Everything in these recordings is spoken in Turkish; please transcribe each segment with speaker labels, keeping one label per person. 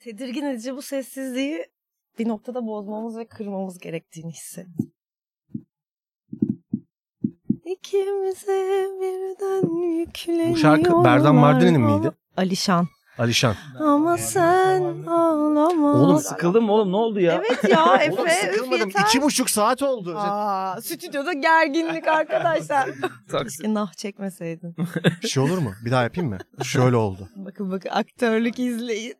Speaker 1: tedirgin edici bu sessizliği bir noktada bozmamız ve kırmamız gerektiğini hissettim. İkimize birden yükleniyorlar.
Speaker 2: Bu şarkı Berdan Mardin'in miydi?
Speaker 1: Alişan.
Speaker 2: Alişan.
Speaker 1: Ama sen ağlama.
Speaker 2: Oğlum,
Speaker 3: Sıkıldım mı oğlum ne oldu ya?
Speaker 1: Evet ya Efe.
Speaker 4: Oğlum
Speaker 1: üf
Speaker 4: sıkılmadım.
Speaker 1: yeter.
Speaker 4: İki buçuk saat oldu.
Speaker 1: Aa, stüdyoda gerginlik arkadaşlar. Keşke nah çekmeseydin.
Speaker 4: Bir şey olur mu? Bir daha yapayım mı? Şöyle oldu.
Speaker 1: Bakın bakın aktörlük izleyin.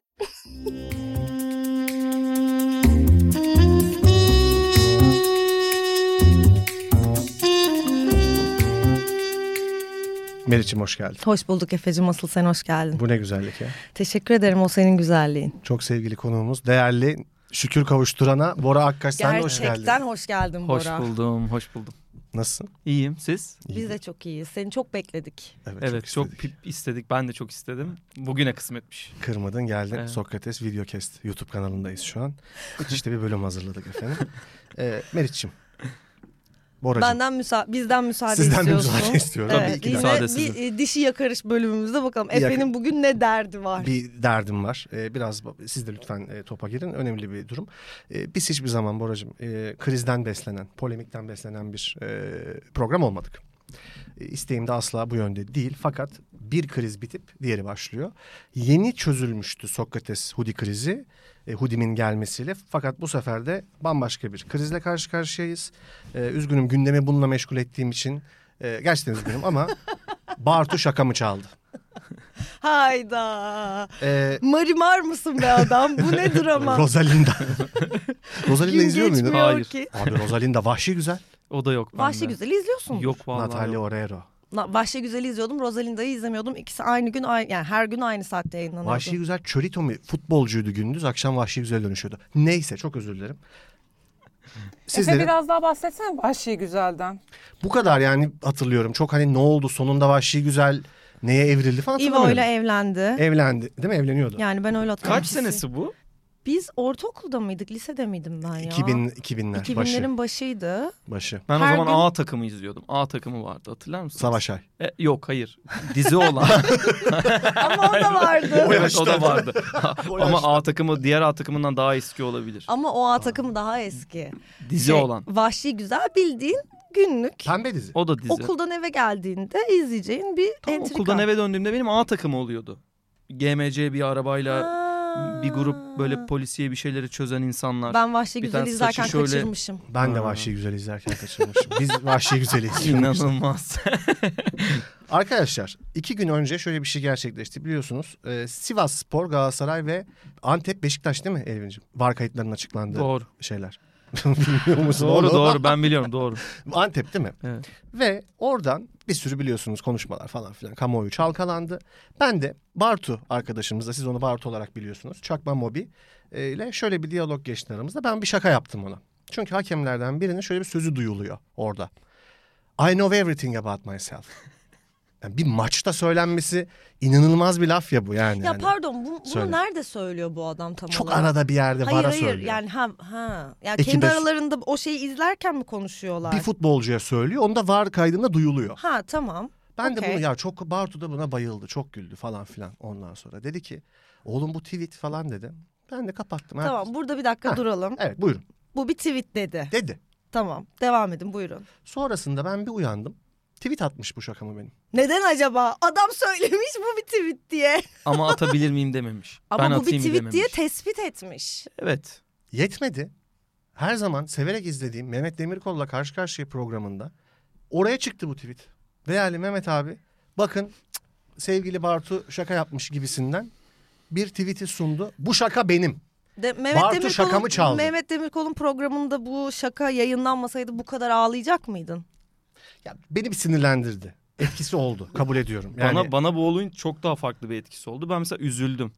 Speaker 4: Meriç'im hoş geldin.
Speaker 1: Hoş bulduk Efe'cim asıl sen hoş geldin.
Speaker 4: Bu ne güzellik ya.
Speaker 1: Teşekkür ederim o senin güzelliğin.
Speaker 4: Çok sevgili konuğumuz, değerli şükür kavuşturana Bora Akkaş sen de hoş geldin.
Speaker 1: Gerçekten hoş geldin
Speaker 3: Hoş
Speaker 1: Bora.
Speaker 3: buldum, hoş buldum.
Speaker 4: Nasılsın?
Speaker 3: İyiyim, siz?
Speaker 4: İyi.
Speaker 1: Biz de çok iyiyiz. Seni çok bekledik.
Speaker 4: Evet,
Speaker 3: evet, çok,
Speaker 4: istedik.
Speaker 3: pip istedik. Ben de çok istedim. Bugüne kısmetmiş.
Speaker 4: Kırmadın geldin.
Speaker 3: Evet.
Speaker 4: Sokrates Videocast YouTube kanalındayız şu an. İşte bir bölüm hazırladık efendim. Ee, Meriç'im. Boracığım.
Speaker 1: Benden müsa bizden müsaade
Speaker 4: Sizden bir
Speaker 1: istiyorsun.
Speaker 4: müsaade istiyorum.
Speaker 3: Tabii
Speaker 1: Evet,
Speaker 3: ki
Speaker 1: yine
Speaker 3: müsaade
Speaker 1: bir,
Speaker 3: sizin.
Speaker 1: e, dişi yakarış bölümümüzde bakalım.
Speaker 4: Yak-
Speaker 1: Efe'nin bugün ne derdi var?
Speaker 4: Bir derdim var. Ee, biraz ba- siz de lütfen e, topa girin. Önemli bir durum. Ee, biz hiçbir zaman Boracığım e, krizden beslenen, polemikten beslenen bir e, program olmadık. E, İsteğim de asla bu yönde değil. Fakat bir kriz bitip diğeri başlıyor. Yeni çözülmüştü Sokrates Hudi krizi. E, Hudi'nin gelmesiyle. Fakat bu sefer de bambaşka bir krizle karşı karşıyayız. E, üzgünüm gündemi bununla meşgul ettiğim için. E, gerçekten üzgünüm ama Bartu şakamı çaldı.
Speaker 1: Hayda.
Speaker 4: E,
Speaker 1: Marimar mısın be adam? Bu ne drama?
Speaker 4: Rosalinda. Rosalinda
Speaker 1: Gün
Speaker 4: izliyor muydun?
Speaker 1: geçmiyor
Speaker 3: Hayır.
Speaker 1: ki.
Speaker 4: Abi Rosalinda vahşi güzel.
Speaker 3: O da yok bende.
Speaker 1: Vahşi Güzel'i izliyorsun.
Speaker 3: Yok vallahi.
Speaker 4: Natalia
Speaker 3: yok.
Speaker 4: Oreiro.
Speaker 1: Na- Vahşi Güzel'i izliyordum. Rosalinda'yı izlemiyordum. İkisi aynı gün ay- yani her gün aynı saatte yayınlanıyordu.
Speaker 4: Vahşi Güzel Çorito mu? Futbolcuydu gündüz. Akşam Vahşi Güzel dönüşüyordu. Neyse çok özür dilerim.
Speaker 5: Efe
Speaker 4: Sizlerin
Speaker 5: biraz daha bahsetsene Vahşi Güzel'den.
Speaker 4: bu kadar yani hatırlıyorum. Çok hani ne oldu sonunda Vahşi Güzel neye evrildi falan
Speaker 1: Ivo
Speaker 4: hatırlamıyorum. E-
Speaker 1: ile evlendi.
Speaker 4: Evlendi değil mi? Evleniyordu.
Speaker 1: yani ben öyle hatırlıyorum.
Speaker 3: Kaç senesi bu?
Speaker 1: Biz ortaokulda mıydık? Lisede miydim ben ya?
Speaker 4: 2000 2000'ler başı
Speaker 1: 2000'lerin başıydı.
Speaker 4: başı.
Speaker 3: Ben
Speaker 1: Her
Speaker 3: o zaman
Speaker 1: gün-
Speaker 3: A takımı izliyordum. A takımı vardı hatırlar mısın?
Speaker 4: Savaşay.
Speaker 3: E, yok hayır. Dizi olan.
Speaker 1: Ama o da vardı.
Speaker 3: evet, o da vardı.
Speaker 4: O
Speaker 3: Ama
Speaker 4: yaşta.
Speaker 3: A takımı diğer A takımından daha eski olabilir.
Speaker 1: Ama o A takımı daha eski.
Speaker 3: Dizi
Speaker 1: Şey,
Speaker 3: olan.
Speaker 1: Vahşi Güzel bildiğin günlük.
Speaker 4: Pembe dizi.
Speaker 3: O da dizi.
Speaker 1: Okuldan eve geldiğinde izleyeceğin bir
Speaker 3: Tam
Speaker 1: entrika.
Speaker 3: okuldan eve döndüğümde benim A takımı oluyordu. GMC bir arabayla
Speaker 1: Ha.
Speaker 3: bir grup böyle polisiye bir şeyleri çözen insanlar.
Speaker 1: Ben Vahşi
Speaker 3: Bir
Speaker 1: Güzel'i
Speaker 3: tane
Speaker 1: izlerken
Speaker 3: saçı şöyle-
Speaker 1: kaçırmışım.
Speaker 4: Ben de
Speaker 3: Ha.
Speaker 4: Vahşi Güzel izlerken kaçırmışım. Biz Vahşi Güzel'i izliyoruz.
Speaker 3: İnanılmaz.
Speaker 4: Arkadaşlar iki gün önce şöyle bir şey gerçekleşti biliyorsunuz. Ee, Sivas Spor, Galatasaray ve Antep Beşiktaş değil mi Elvin'ciğim? Var kayıtlarının açıklandığı
Speaker 3: doğru.
Speaker 4: şeyler. Bilmiyor musun
Speaker 3: Doğru
Speaker 4: onu?
Speaker 3: doğru ben biliyorum doğru.
Speaker 4: Antep değil mi?
Speaker 3: Evet.
Speaker 4: Ve oradan bir sürü biliyorsunuz konuşmalar falan filan kamuoyu çalkalandı. Ben de Bartu arkadaşımızla siz onu Bartu olarak biliyorsunuz. Çakma Mobi e, ile şöyle bir diyalog geçti aramızda. Ben bir şaka yaptım ona. Çünkü hakemlerden birinin şöyle bir sözü duyuluyor orada. I know everything about myself. Yani bir maçta söylenmesi inanılmaz bir laf ya bu yani.
Speaker 1: Ya
Speaker 4: Hani
Speaker 1: pardon bu, bunu
Speaker 4: söyle.
Speaker 1: nerede söylüyor bu adam tam
Speaker 4: çok
Speaker 1: olarak?
Speaker 4: arada bir yerde
Speaker 1: Hayır
Speaker 4: vara
Speaker 1: hayır
Speaker 4: söylüyor.
Speaker 1: yani ha ha. Ya
Speaker 4: Ekibe-
Speaker 1: kendi aralarında o şeyi izlerken mi konuşuyorlar?
Speaker 4: Bir futbolcuya söylüyor. Onu da var kaydında duyuluyor.
Speaker 1: ha tamam.
Speaker 4: Ben de bunu
Speaker 1: Okey.
Speaker 4: ya çok Bartu da buna bayıldı. Çok güldü falan filan ondan sonra. Dedi ki oğlum bu tweet falan dedi. Ben de kapattım.
Speaker 1: Tamam burada bir dakika
Speaker 4: Ha.
Speaker 1: duralım.
Speaker 4: Evet buyurun
Speaker 1: Bu bir tweet dedi.
Speaker 4: dedi.
Speaker 1: Tamam devam edin buyurun.
Speaker 4: Sonrasında ben bir uyandım. Tweet atmış bu şakamı benim.
Speaker 1: Neden acaba? Adam söylemiş bu bir tweet diye.
Speaker 3: Ama atabilir miyim dememiş.
Speaker 1: Ama
Speaker 3: ben
Speaker 1: bu bir
Speaker 3: atayım
Speaker 1: tweet
Speaker 3: dememiş.
Speaker 1: diye tespit etmiş.
Speaker 3: Evet.
Speaker 4: Yetmedi. Her zaman severek izlediğim Mehmet Demirkol'la karşı karşıya programında oraya çıktı bu tweet. Değerli Mehmet abi bakın cık, sevgili Bartu şaka yapmış gibisinden bir tweet'i sundu. Bu şaka benim.
Speaker 1: De, Mehmet
Speaker 4: Bartu
Speaker 1: Demirkol'un-
Speaker 4: şakamı çaldı.
Speaker 1: Mehmet Demirkol'un programında bu şaka yayınlanmasaydı bu kadar ağlayacak mıydın?
Speaker 4: Ya, beni bir sinirlendirdi. Etkisi oldu. Kabul ediyorum.
Speaker 3: Bana bana bu olayın çok daha farklı bir etkisi oldu. Ben mesela üzüldüm.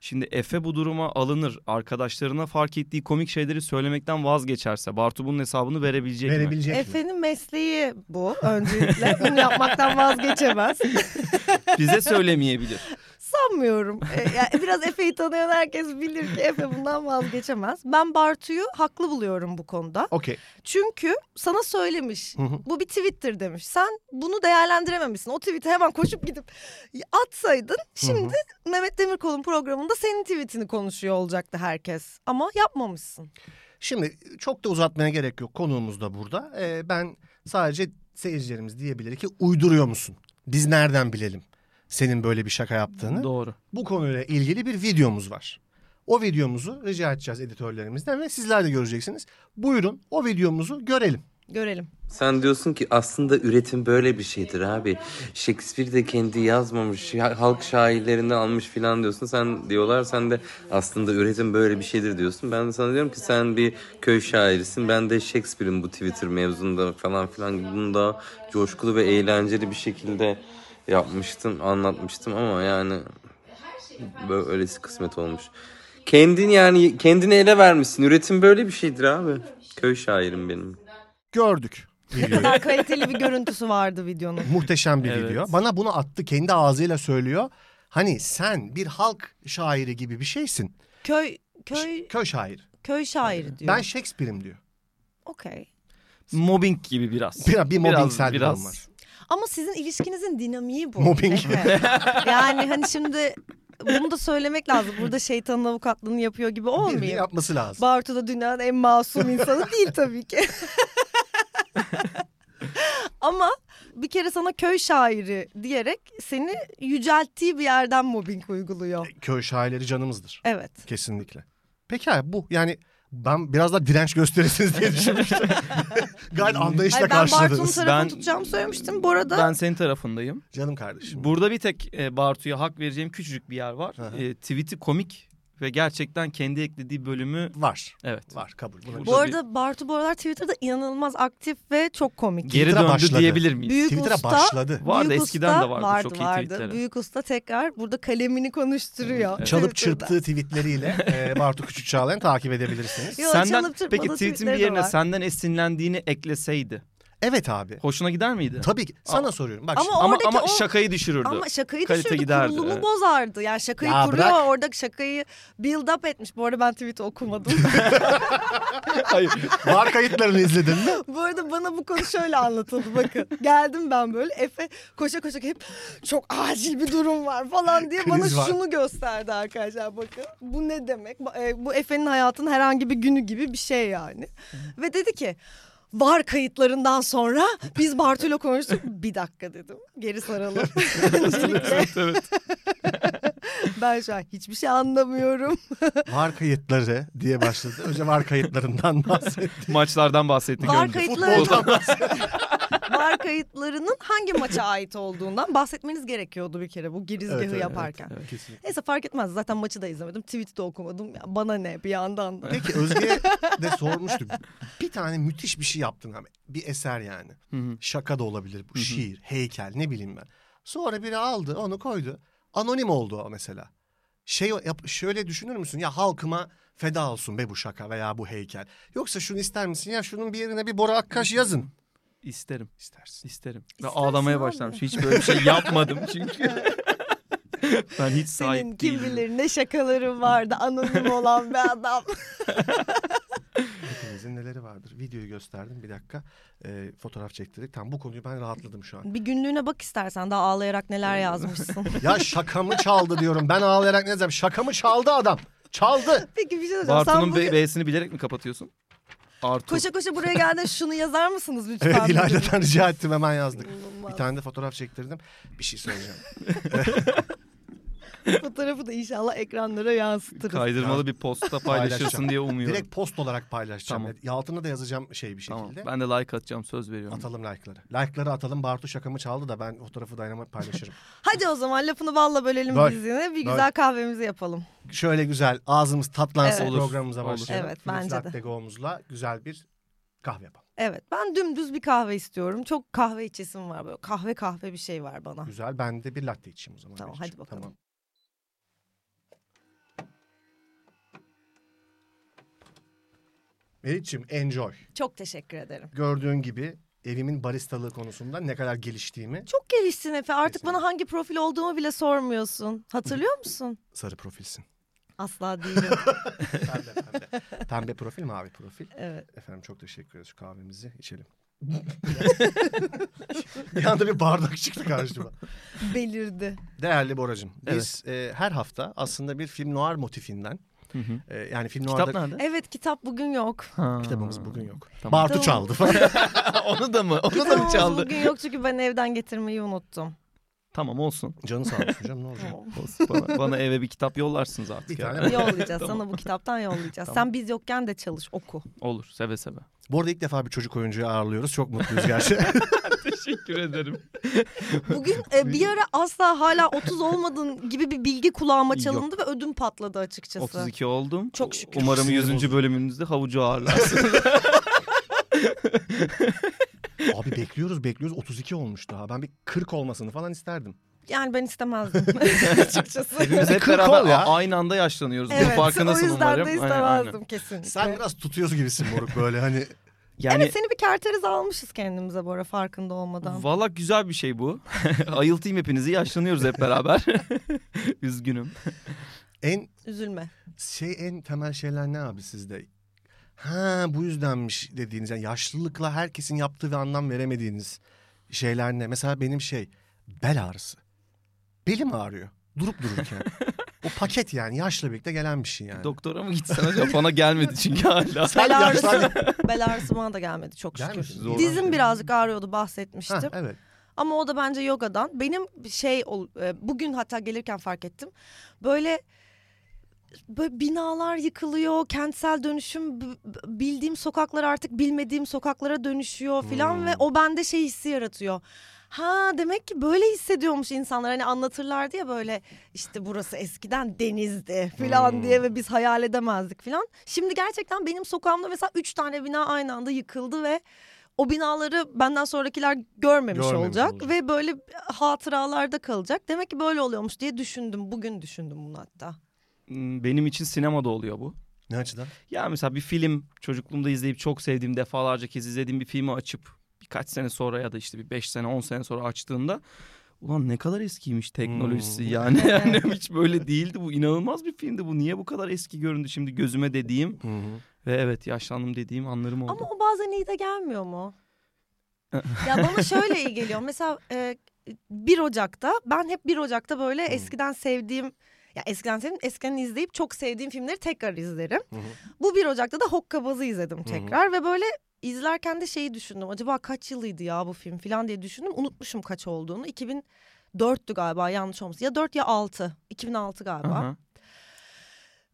Speaker 3: Şimdi Efe bu duruma alınır. Arkadaşlarına fark ettiği komik şeyleri söylemekten vazgeçerse Bartu bunun hesabını verebilecek mi?
Speaker 4: verebilecek mi?
Speaker 1: Efe'nin mesleği bu öncelikle. Bunu yapmaktan vazgeçemez.
Speaker 3: Bize söylemeyebilir.
Speaker 1: sanmıyorum. E, yani biraz Efe'yi tanıyan herkes bilir ki Efe bundan vazgeçemez. Ben Bartu'yu haklı buluyorum bu konuda.
Speaker 4: Okey.
Speaker 1: Çünkü sana söylemiş.
Speaker 4: Hı hı.
Speaker 1: Bu bir tweet'tir demiş. Sen bunu değerlendirememişsin. O tweet'i hemen koşup gidip atsaydın şimdi Mehmet Demirkol'un programında senin tweet'ini konuşuyor olacaktı herkes. Ama yapmamışsın.
Speaker 4: Şimdi çok da uzatmaya gerek yok. Konuğumuz da burada. Ee, ben sadece seyircilerimiz diyebilir ki uyduruyor musun? Biz nereden bilelim senin böyle bir şaka yaptığını?
Speaker 3: Doğru.
Speaker 4: Bu konuyla ilgili bir videomuz var. O videomuzu rica edeceğiz editörlerimizden ve sizler de göreceksiniz. Buyurun o videomuzu görelim.
Speaker 1: Görelim.
Speaker 6: Sen diyorsun ki aslında üretim böyle bir şeydir abi. Shakespeare de kendi yazmamış, ya- halk şairlerinden almış filan diyorsun. Sen diyorlar sen de aslında üretim böyle bir şeydir diyorsun. Ben de sana diyorum ki sen bir köy şairisin. Ben de Shakespeare'in bu Twitter mevzunda falan filan gibi bunu daha coşkulu ve eğlenceli bir şekilde yapmıştım, anlatmıştım ama yani böyle öylesi kısmet olmuş. Kendin yani kendini ele vermişsin. Üretim böyle bir şeydir abi. Köy şairim benim.
Speaker 4: Gördük videoyu.
Speaker 1: Daha kaliteli bir görüntüsü vardı videonun.
Speaker 4: Muhteşem bir
Speaker 3: Evet.
Speaker 4: video. Bana bunu attı kendi ağzıyla söylüyor. Hani sen bir halk şairi gibi bir şeysin.
Speaker 1: Köy köy
Speaker 4: Köy şairi.
Speaker 1: köy şairi diyor.
Speaker 4: Ben Shakespeare'im diyor.
Speaker 1: Okey.
Speaker 3: Mobbing gibi biraz.
Speaker 4: Bir, bir
Speaker 3: biraz,
Speaker 4: mobbingsel bir durum var.
Speaker 3: biraz.
Speaker 1: Ama sizin ilişkinizin dinamiği bu.
Speaker 4: Mobbing.
Speaker 1: Evet. yani hani şimdi bunu da söylemek lazım. Burada şeytanın avukatlığını yapıyor gibi
Speaker 4: Birinin
Speaker 1: olmayayım.
Speaker 4: yapması lazım.
Speaker 1: Bartu da dünyanın en masum insanı değil tabii ki. Ama bir kere sana köy şairi diyerek seni yücelttiği bir yerden mobbing uyguluyor.
Speaker 4: Köy şairleri canımızdır.
Speaker 1: Evet.
Speaker 4: Kesinlikle. Pekala bu yani ben biraz daha direnç gösterirsiniz diye düşünmüştüm. Gayet anlayışla
Speaker 1: Hayır, ben Bartu'nun
Speaker 4: karşıladınız.
Speaker 1: tarafını
Speaker 3: Ben-
Speaker 1: tutacağımı söylemiştim. Bu arada
Speaker 3: Ben senin tarafındayım.
Speaker 4: Canım kardeşim.
Speaker 3: Burada bir tek e, Bartu'ya hak vereceğim küçücük bir yer var.
Speaker 4: Hı hı.
Speaker 3: E, tweet'i komik ve gerçekten kendi eklediği bölümü
Speaker 4: Var.
Speaker 3: evet.
Speaker 4: Var kabul. Buna
Speaker 3: Bu-
Speaker 1: bu
Speaker 3: da
Speaker 1: arada Bartu bu aralar Twitter'da inanılmaz aktif ve çok komik.
Speaker 3: Geri
Speaker 4: Twitter'a
Speaker 3: döndü
Speaker 4: başladı.
Speaker 3: diyebilir miyiz?
Speaker 1: Büyük
Speaker 4: Twitter'a
Speaker 1: usta
Speaker 4: başladı.
Speaker 3: Vardı,
Speaker 1: Büyük
Speaker 3: eskiden
Speaker 1: usta
Speaker 3: de vardı, çok iyi tweetleri.
Speaker 1: Büyük usta tekrar burada kalemini konuşturuyor.
Speaker 4: Çalıp
Speaker 1: Twitter'da.
Speaker 4: çırptığı tweetleriyle e, Bartu Küçük Çağlayan takip edebilirsiniz.
Speaker 1: Yo,
Speaker 3: senden
Speaker 1: çalıp çırpmadı
Speaker 3: peki tweet'in
Speaker 1: tweetleri
Speaker 3: bir
Speaker 1: de
Speaker 3: yerine
Speaker 1: var.
Speaker 3: senden esinlendiğini ekleseydi
Speaker 4: Evet abi.
Speaker 3: hoşuna gider miydi?
Speaker 4: Tabii ki. Sana soruyorum. Bak
Speaker 1: Ama
Speaker 4: şimdi.
Speaker 1: o-
Speaker 3: Ama
Speaker 1: Oradaki
Speaker 3: ama şakayı düşürürdü.
Speaker 1: Ama şakayı
Speaker 3: Kalite
Speaker 1: düşürdü,
Speaker 3: giderdi,
Speaker 1: kurulumu
Speaker 3: evet.
Speaker 1: bozardı. Yani şakayı
Speaker 4: Ya
Speaker 1: kuruyor,
Speaker 4: bırak.
Speaker 1: oradaki şakayı build up etmiş. Bu arada ben tweet'i okumadım.
Speaker 3: Hayır.
Speaker 4: var kayıtlarını izledin mi?
Speaker 1: bu arada bana bu konu şöyle anlatıldı bakın. Geldim ben böyle Efe koşa koşa hep çok acil bir durum var falan diye bana
Speaker 4: Kriz var.
Speaker 1: şunu gösterdi arkadaşlar bakın. Bu ne demek? Bu- e, Bu Efe'nin hayatının herhangi bir günü gibi bir şey yani. Ve dedi ki var kayıtlarından sonra biz Bartu'yla konuştuk. Bir dakika dedim. Geri saralım. Öncelikle
Speaker 3: evet.
Speaker 1: ben şu an hiçbir şey anlamıyorum.
Speaker 4: Var kayıtları diye başladı. Önce var kayıtlarından bahsetti.
Speaker 3: Maçlardan bahsettik
Speaker 1: Var
Speaker 3: önce.
Speaker 1: kayıtlarının, var kayıtlarının hangi maça ait olduğundan bahsetmeniz gerekiyordu bir kere bu girizgahı
Speaker 4: Evet, evet,
Speaker 1: yaparken.
Speaker 4: Kesinlikle.
Speaker 1: Neyse fark etmez zaten maçı da izlemedim tweet'i de okumadım Ya bana ne bir yandan da.
Speaker 4: Peki Özge'ye de sormuştuk. Bir tane müthiş bir şey yaptın abi. Bir eser yani.
Speaker 3: Hı hı.
Speaker 4: Şaka da olabilir bu. Şiir, heykel ne bileyim ben. Sonra biri aldı onu koydu. Anonim oldu o mesela. Şey yap- şöyle düşünür müsün? Ya halkıma feda olsun be bu şaka veya bu heykel. Yoksa şunu ister misin? Ya şunun bir yerine bir Bora Akkaş yazın.
Speaker 3: İsterim.
Speaker 4: İstersin.
Speaker 3: İsterim. Ve
Speaker 1: İstersin
Speaker 3: ağlamaya
Speaker 1: abi.
Speaker 3: başlamış. Hiç böyle bir şey yapmadım çünkü. ben hiç sahip
Speaker 1: Senin kim
Speaker 3: değilim.
Speaker 1: bilir ne şakaların vardı anonim olan bir adam.
Speaker 4: Hepinizin neleri vardır? Videoyu gösterdim bir dakika. Ee, fotoğraf çektirdik. Tam bu konuyu ben rahatladım şu an.
Speaker 1: bir günlüğüne bak istersen daha ağlayarak neler yazmışsın.
Speaker 4: Ya şakamı çaldı diyorum. Ben ağlayarak ne diyeceğim? Şakamı çaldı adam. Çaldı.
Speaker 1: Peki bir şey soracağım. Sen
Speaker 3: Bartu'nun
Speaker 1: bugün
Speaker 3: B- B'sini bilerek mi kapatıyorsun? Artu.
Speaker 1: koşa koşa buraya geldin şunu yazar mısınız lütfen?
Speaker 4: Evet
Speaker 1: dedim.
Speaker 4: Ee, İlayda'dan rica ettim hemen yazdık.
Speaker 1: İnanılmaz.
Speaker 4: Bir tane de fotoğraf çektirdim. Bir şey söyleyeceğim.
Speaker 1: Fotoğrafı da inşallah ekranlara yansıtırız.
Speaker 3: Kaydırmalı bir posta paylaşırsın
Speaker 4: Paylaşacağım.
Speaker 3: diye umuyorum.
Speaker 4: Direkt post olarak paylaşacağım.
Speaker 3: Tamam.
Speaker 4: Ya Altına da yazacağım şey bir
Speaker 3: tamam.
Speaker 4: şekilde.
Speaker 3: Ben de like atacağım söz veriyorum.
Speaker 4: Atalım like'ları. Like'ları atalım. Bartu şakamı çaldı da ben fotoğrafı dayanama paylaşırım.
Speaker 1: Hadi o zaman lafını balla bölelim
Speaker 4: Böl.
Speaker 1: biz yine. Bir
Speaker 4: Böl.
Speaker 1: güzel kahvemizi yapalım.
Speaker 4: Şöyle güzel ağzımız tatlansın
Speaker 1: Evet.
Speaker 3: Olur,
Speaker 4: programımıza
Speaker 3: olur.
Speaker 4: başlayalım.
Speaker 1: Evet,
Speaker 4: Filiz
Speaker 1: bence de.
Speaker 4: Latte Go'muzla güzel bir kahve yapalım.
Speaker 1: Evet ben dümdüz bir kahve istiyorum. Çok kahve içesim var böyle kahve kahve bir şey var bana.
Speaker 4: Güzel. Ben de bir latte içeyim o zaman.
Speaker 1: Tamam,
Speaker 4: Melih'ciğim.
Speaker 1: hadi bakalım.
Speaker 4: Melih'ciğim enjoy.
Speaker 1: Çok teşekkür ederim.
Speaker 4: Gördüğün gibi evimin baristalığı konusunda ne kadar geliştiğimi.
Speaker 1: Çok gelişsin Efe. Artık
Speaker 4: Kesinlikle.
Speaker 1: bana hangi profil olduğumu bile sormuyorsun. Hatırlıyor musun?
Speaker 4: Sarı profilsin.
Speaker 1: Asla değilim.
Speaker 4: Pembe pembe. pembe profil mavi profil.
Speaker 1: evet.
Speaker 4: Efendim çok teşekkür ederiz. Şu kahvemizi içelim. bir anda bir bardak çıktı karşıma.
Speaker 1: Belirdi.
Speaker 4: Değerli Boracığım, biz e, her hafta aslında bir film noir motifinden,
Speaker 3: Hı hı.
Speaker 4: e, yani film
Speaker 3: Kitap
Speaker 4: noir'da
Speaker 3: nerede?
Speaker 1: Evet kitap bugün yok.
Speaker 3: Ha.
Speaker 4: kitabımız bugün yok.
Speaker 3: Tamam.
Speaker 4: Bartu
Speaker 1: Tamam.
Speaker 4: çaldı falan.
Speaker 3: Onu da mı? Onu da mı
Speaker 1: Kitabımız
Speaker 3: çaldı?
Speaker 1: bugün yok çünkü ben evden getirmeyi unuttum.
Speaker 3: Tamam olsun.
Speaker 4: Canı sağ olsun canım ne olacak?
Speaker 3: Olsun. Bana, bana eve bir kitap yollarsınız artık.
Speaker 4: Bir
Speaker 3: ya.
Speaker 4: tane.
Speaker 1: Yollayacağız. Sana bu kitaptan yollayacağız.
Speaker 3: Tamam.
Speaker 1: Sen biz yokken de çalış, oku.
Speaker 3: Olur seve seve.
Speaker 4: Bu arada ilk defa bir çocuk oyuncuyu ağırlıyoruz. Çok mutluyuz gerçekten.
Speaker 3: Teşekkür ederim.
Speaker 1: Bugün e, bir ara asla hala 30 olmadığın gibi bir bilgi kulağıma çalındı ve ödüm patladı açıkçası.
Speaker 3: 32 oldum.
Speaker 1: Çok şükür.
Speaker 3: Umarım
Speaker 4: Sinir
Speaker 3: 100. bölümünüzde havucu ağırlarsınız.
Speaker 4: Abi bekliyoruz bekliyoruz 32 olmuş daha. Ben bir 40 olmasını falan isterdim.
Speaker 1: Yani ben istemezdim açıkçası.
Speaker 3: Biz hep
Speaker 4: Kırk ol
Speaker 3: beraber
Speaker 4: ya.
Speaker 3: aynı anda yaşlanıyoruz. Bunun
Speaker 1: evet, o
Speaker 3: farkındasın
Speaker 1: yüzden
Speaker 3: umarım.
Speaker 1: de
Speaker 3: Aynen, aynen.
Speaker 1: istemezdim kesin.
Speaker 4: Sen biraz tutuyoruz gibisin moruk böyle hani.
Speaker 3: Yani
Speaker 1: Evet seni bir kerteriz almışız kendimize bu ara farkında olmadan.
Speaker 3: Valla güzel bir şey bu. Ayıltayım hepinizi yaşlanıyoruz hep beraber. Üzgünüm.
Speaker 4: En
Speaker 1: Üzülme.
Speaker 4: şey en temel şeyler ne abi sizde? Ha bu yüzdenmiş dediğiniz yani yaşlılıkla herkesin yaptığı ve anlam veremediğiniz şeyler ne? Mesela benim şey bel ağrısı. Belim ağrıyor durup dururken. o paket yani yaşla birlikte gelen bir şey yani.
Speaker 3: Doktora mı gitsen acaba? Bana gelmedi çünkü hala.
Speaker 1: Bel ağrısı,
Speaker 4: yaşlandın.
Speaker 1: bel ağrısı bana da gelmedi çok şükür.
Speaker 4: Gelmesin.
Speaker 3: Zor.
Speaker 1: Dizim birazcık ağrıyordu
Speaker 4: Ha,
Speaker 1: bahsetmiştim.
Speaker 4: evet.
Speaker 1: Ama o da bence yogadan. Benim şey ol- e, bugün hatta gelirken fark ettim. Böyle böyle binalar yıkılıyor, kentsel dönüşüm b- b- bildiğim sokaklar artık bilmediğim sokaklara dönüşüyor filan
Speaker 4: Hmm.
Speaker 1: ve o bende şey hissi yaratıyor. Ha demek ki böyle hissediyormuş insanlar hani anlatırlardı ya böyle işte burası eskiden denizdi filan
Speaker 4: Hmm.
Speaker 1: diye ve biz hayal edemezdik filan. Şimdi gerçekten benim sokağımda mesela üç tane bina aynı anda yıkıldı ve o binaları benden sonrakiler görmemiş,
Speaker 4: Görmemiş
Speaker 1: olacak,
Speaker 4: olacak.
Speaker 1: ve böyle hatıralarda kalacak. Demek ki böyle oluyormuş diye düşündüm. Bugün düşündüm bunu hatta.
Speaker 3: Hmm, Benim için sinemada oluyor bu.
Speaker 4: Ne açıdan?
Speaker 3: Ya mesela bir film çocukluğumda izleyip çok sevdiğim defalarca kez izlediğim bir filmi açıp birkaç sene sonra ya da işte bir 5 sene 10 sene sonra açtığında ulan ne kadar eskiymiş teknolojisi
Speaker 4: Hmm.
Speaker 3: yani yani hiç böyle değildi bu inanılmaz bir filmdi bu niye bu kadar eski göründü şimdi gözüme dediğim
Speaker 4: Hı hı.
Speaker 3: ve evet yaşlandım dediğim anlarım oldu.
Speaker 1: Ama o bazen iyi de gelmiyor mu? ya bana şöyle iyi geliyor. Mesela e, 1 Ocak'ta ben hep 1 Ocak'ta böyle
Speaker 3: Hmm.
Speaker 1: eskiden sevdiğim ya eskiden sevdiğim eskiden izleyip çok sevdiğim filmleri tekrar izlerim.
Speaker 4: hı.
Speaker 1: Bu 1 Ocak'ta da Hokkabaz'ı izledim tekrar ve böyle izlerken de şeyi düşündüm. Acaba kaç yılıydı ya bu film falan diye düşündüm. Unutmuşum kaç olduğunu. 2004'tü galiba yanlış olmasın. Ya 4 ya 6. 2006 galiba.
Speaker 3: Aha.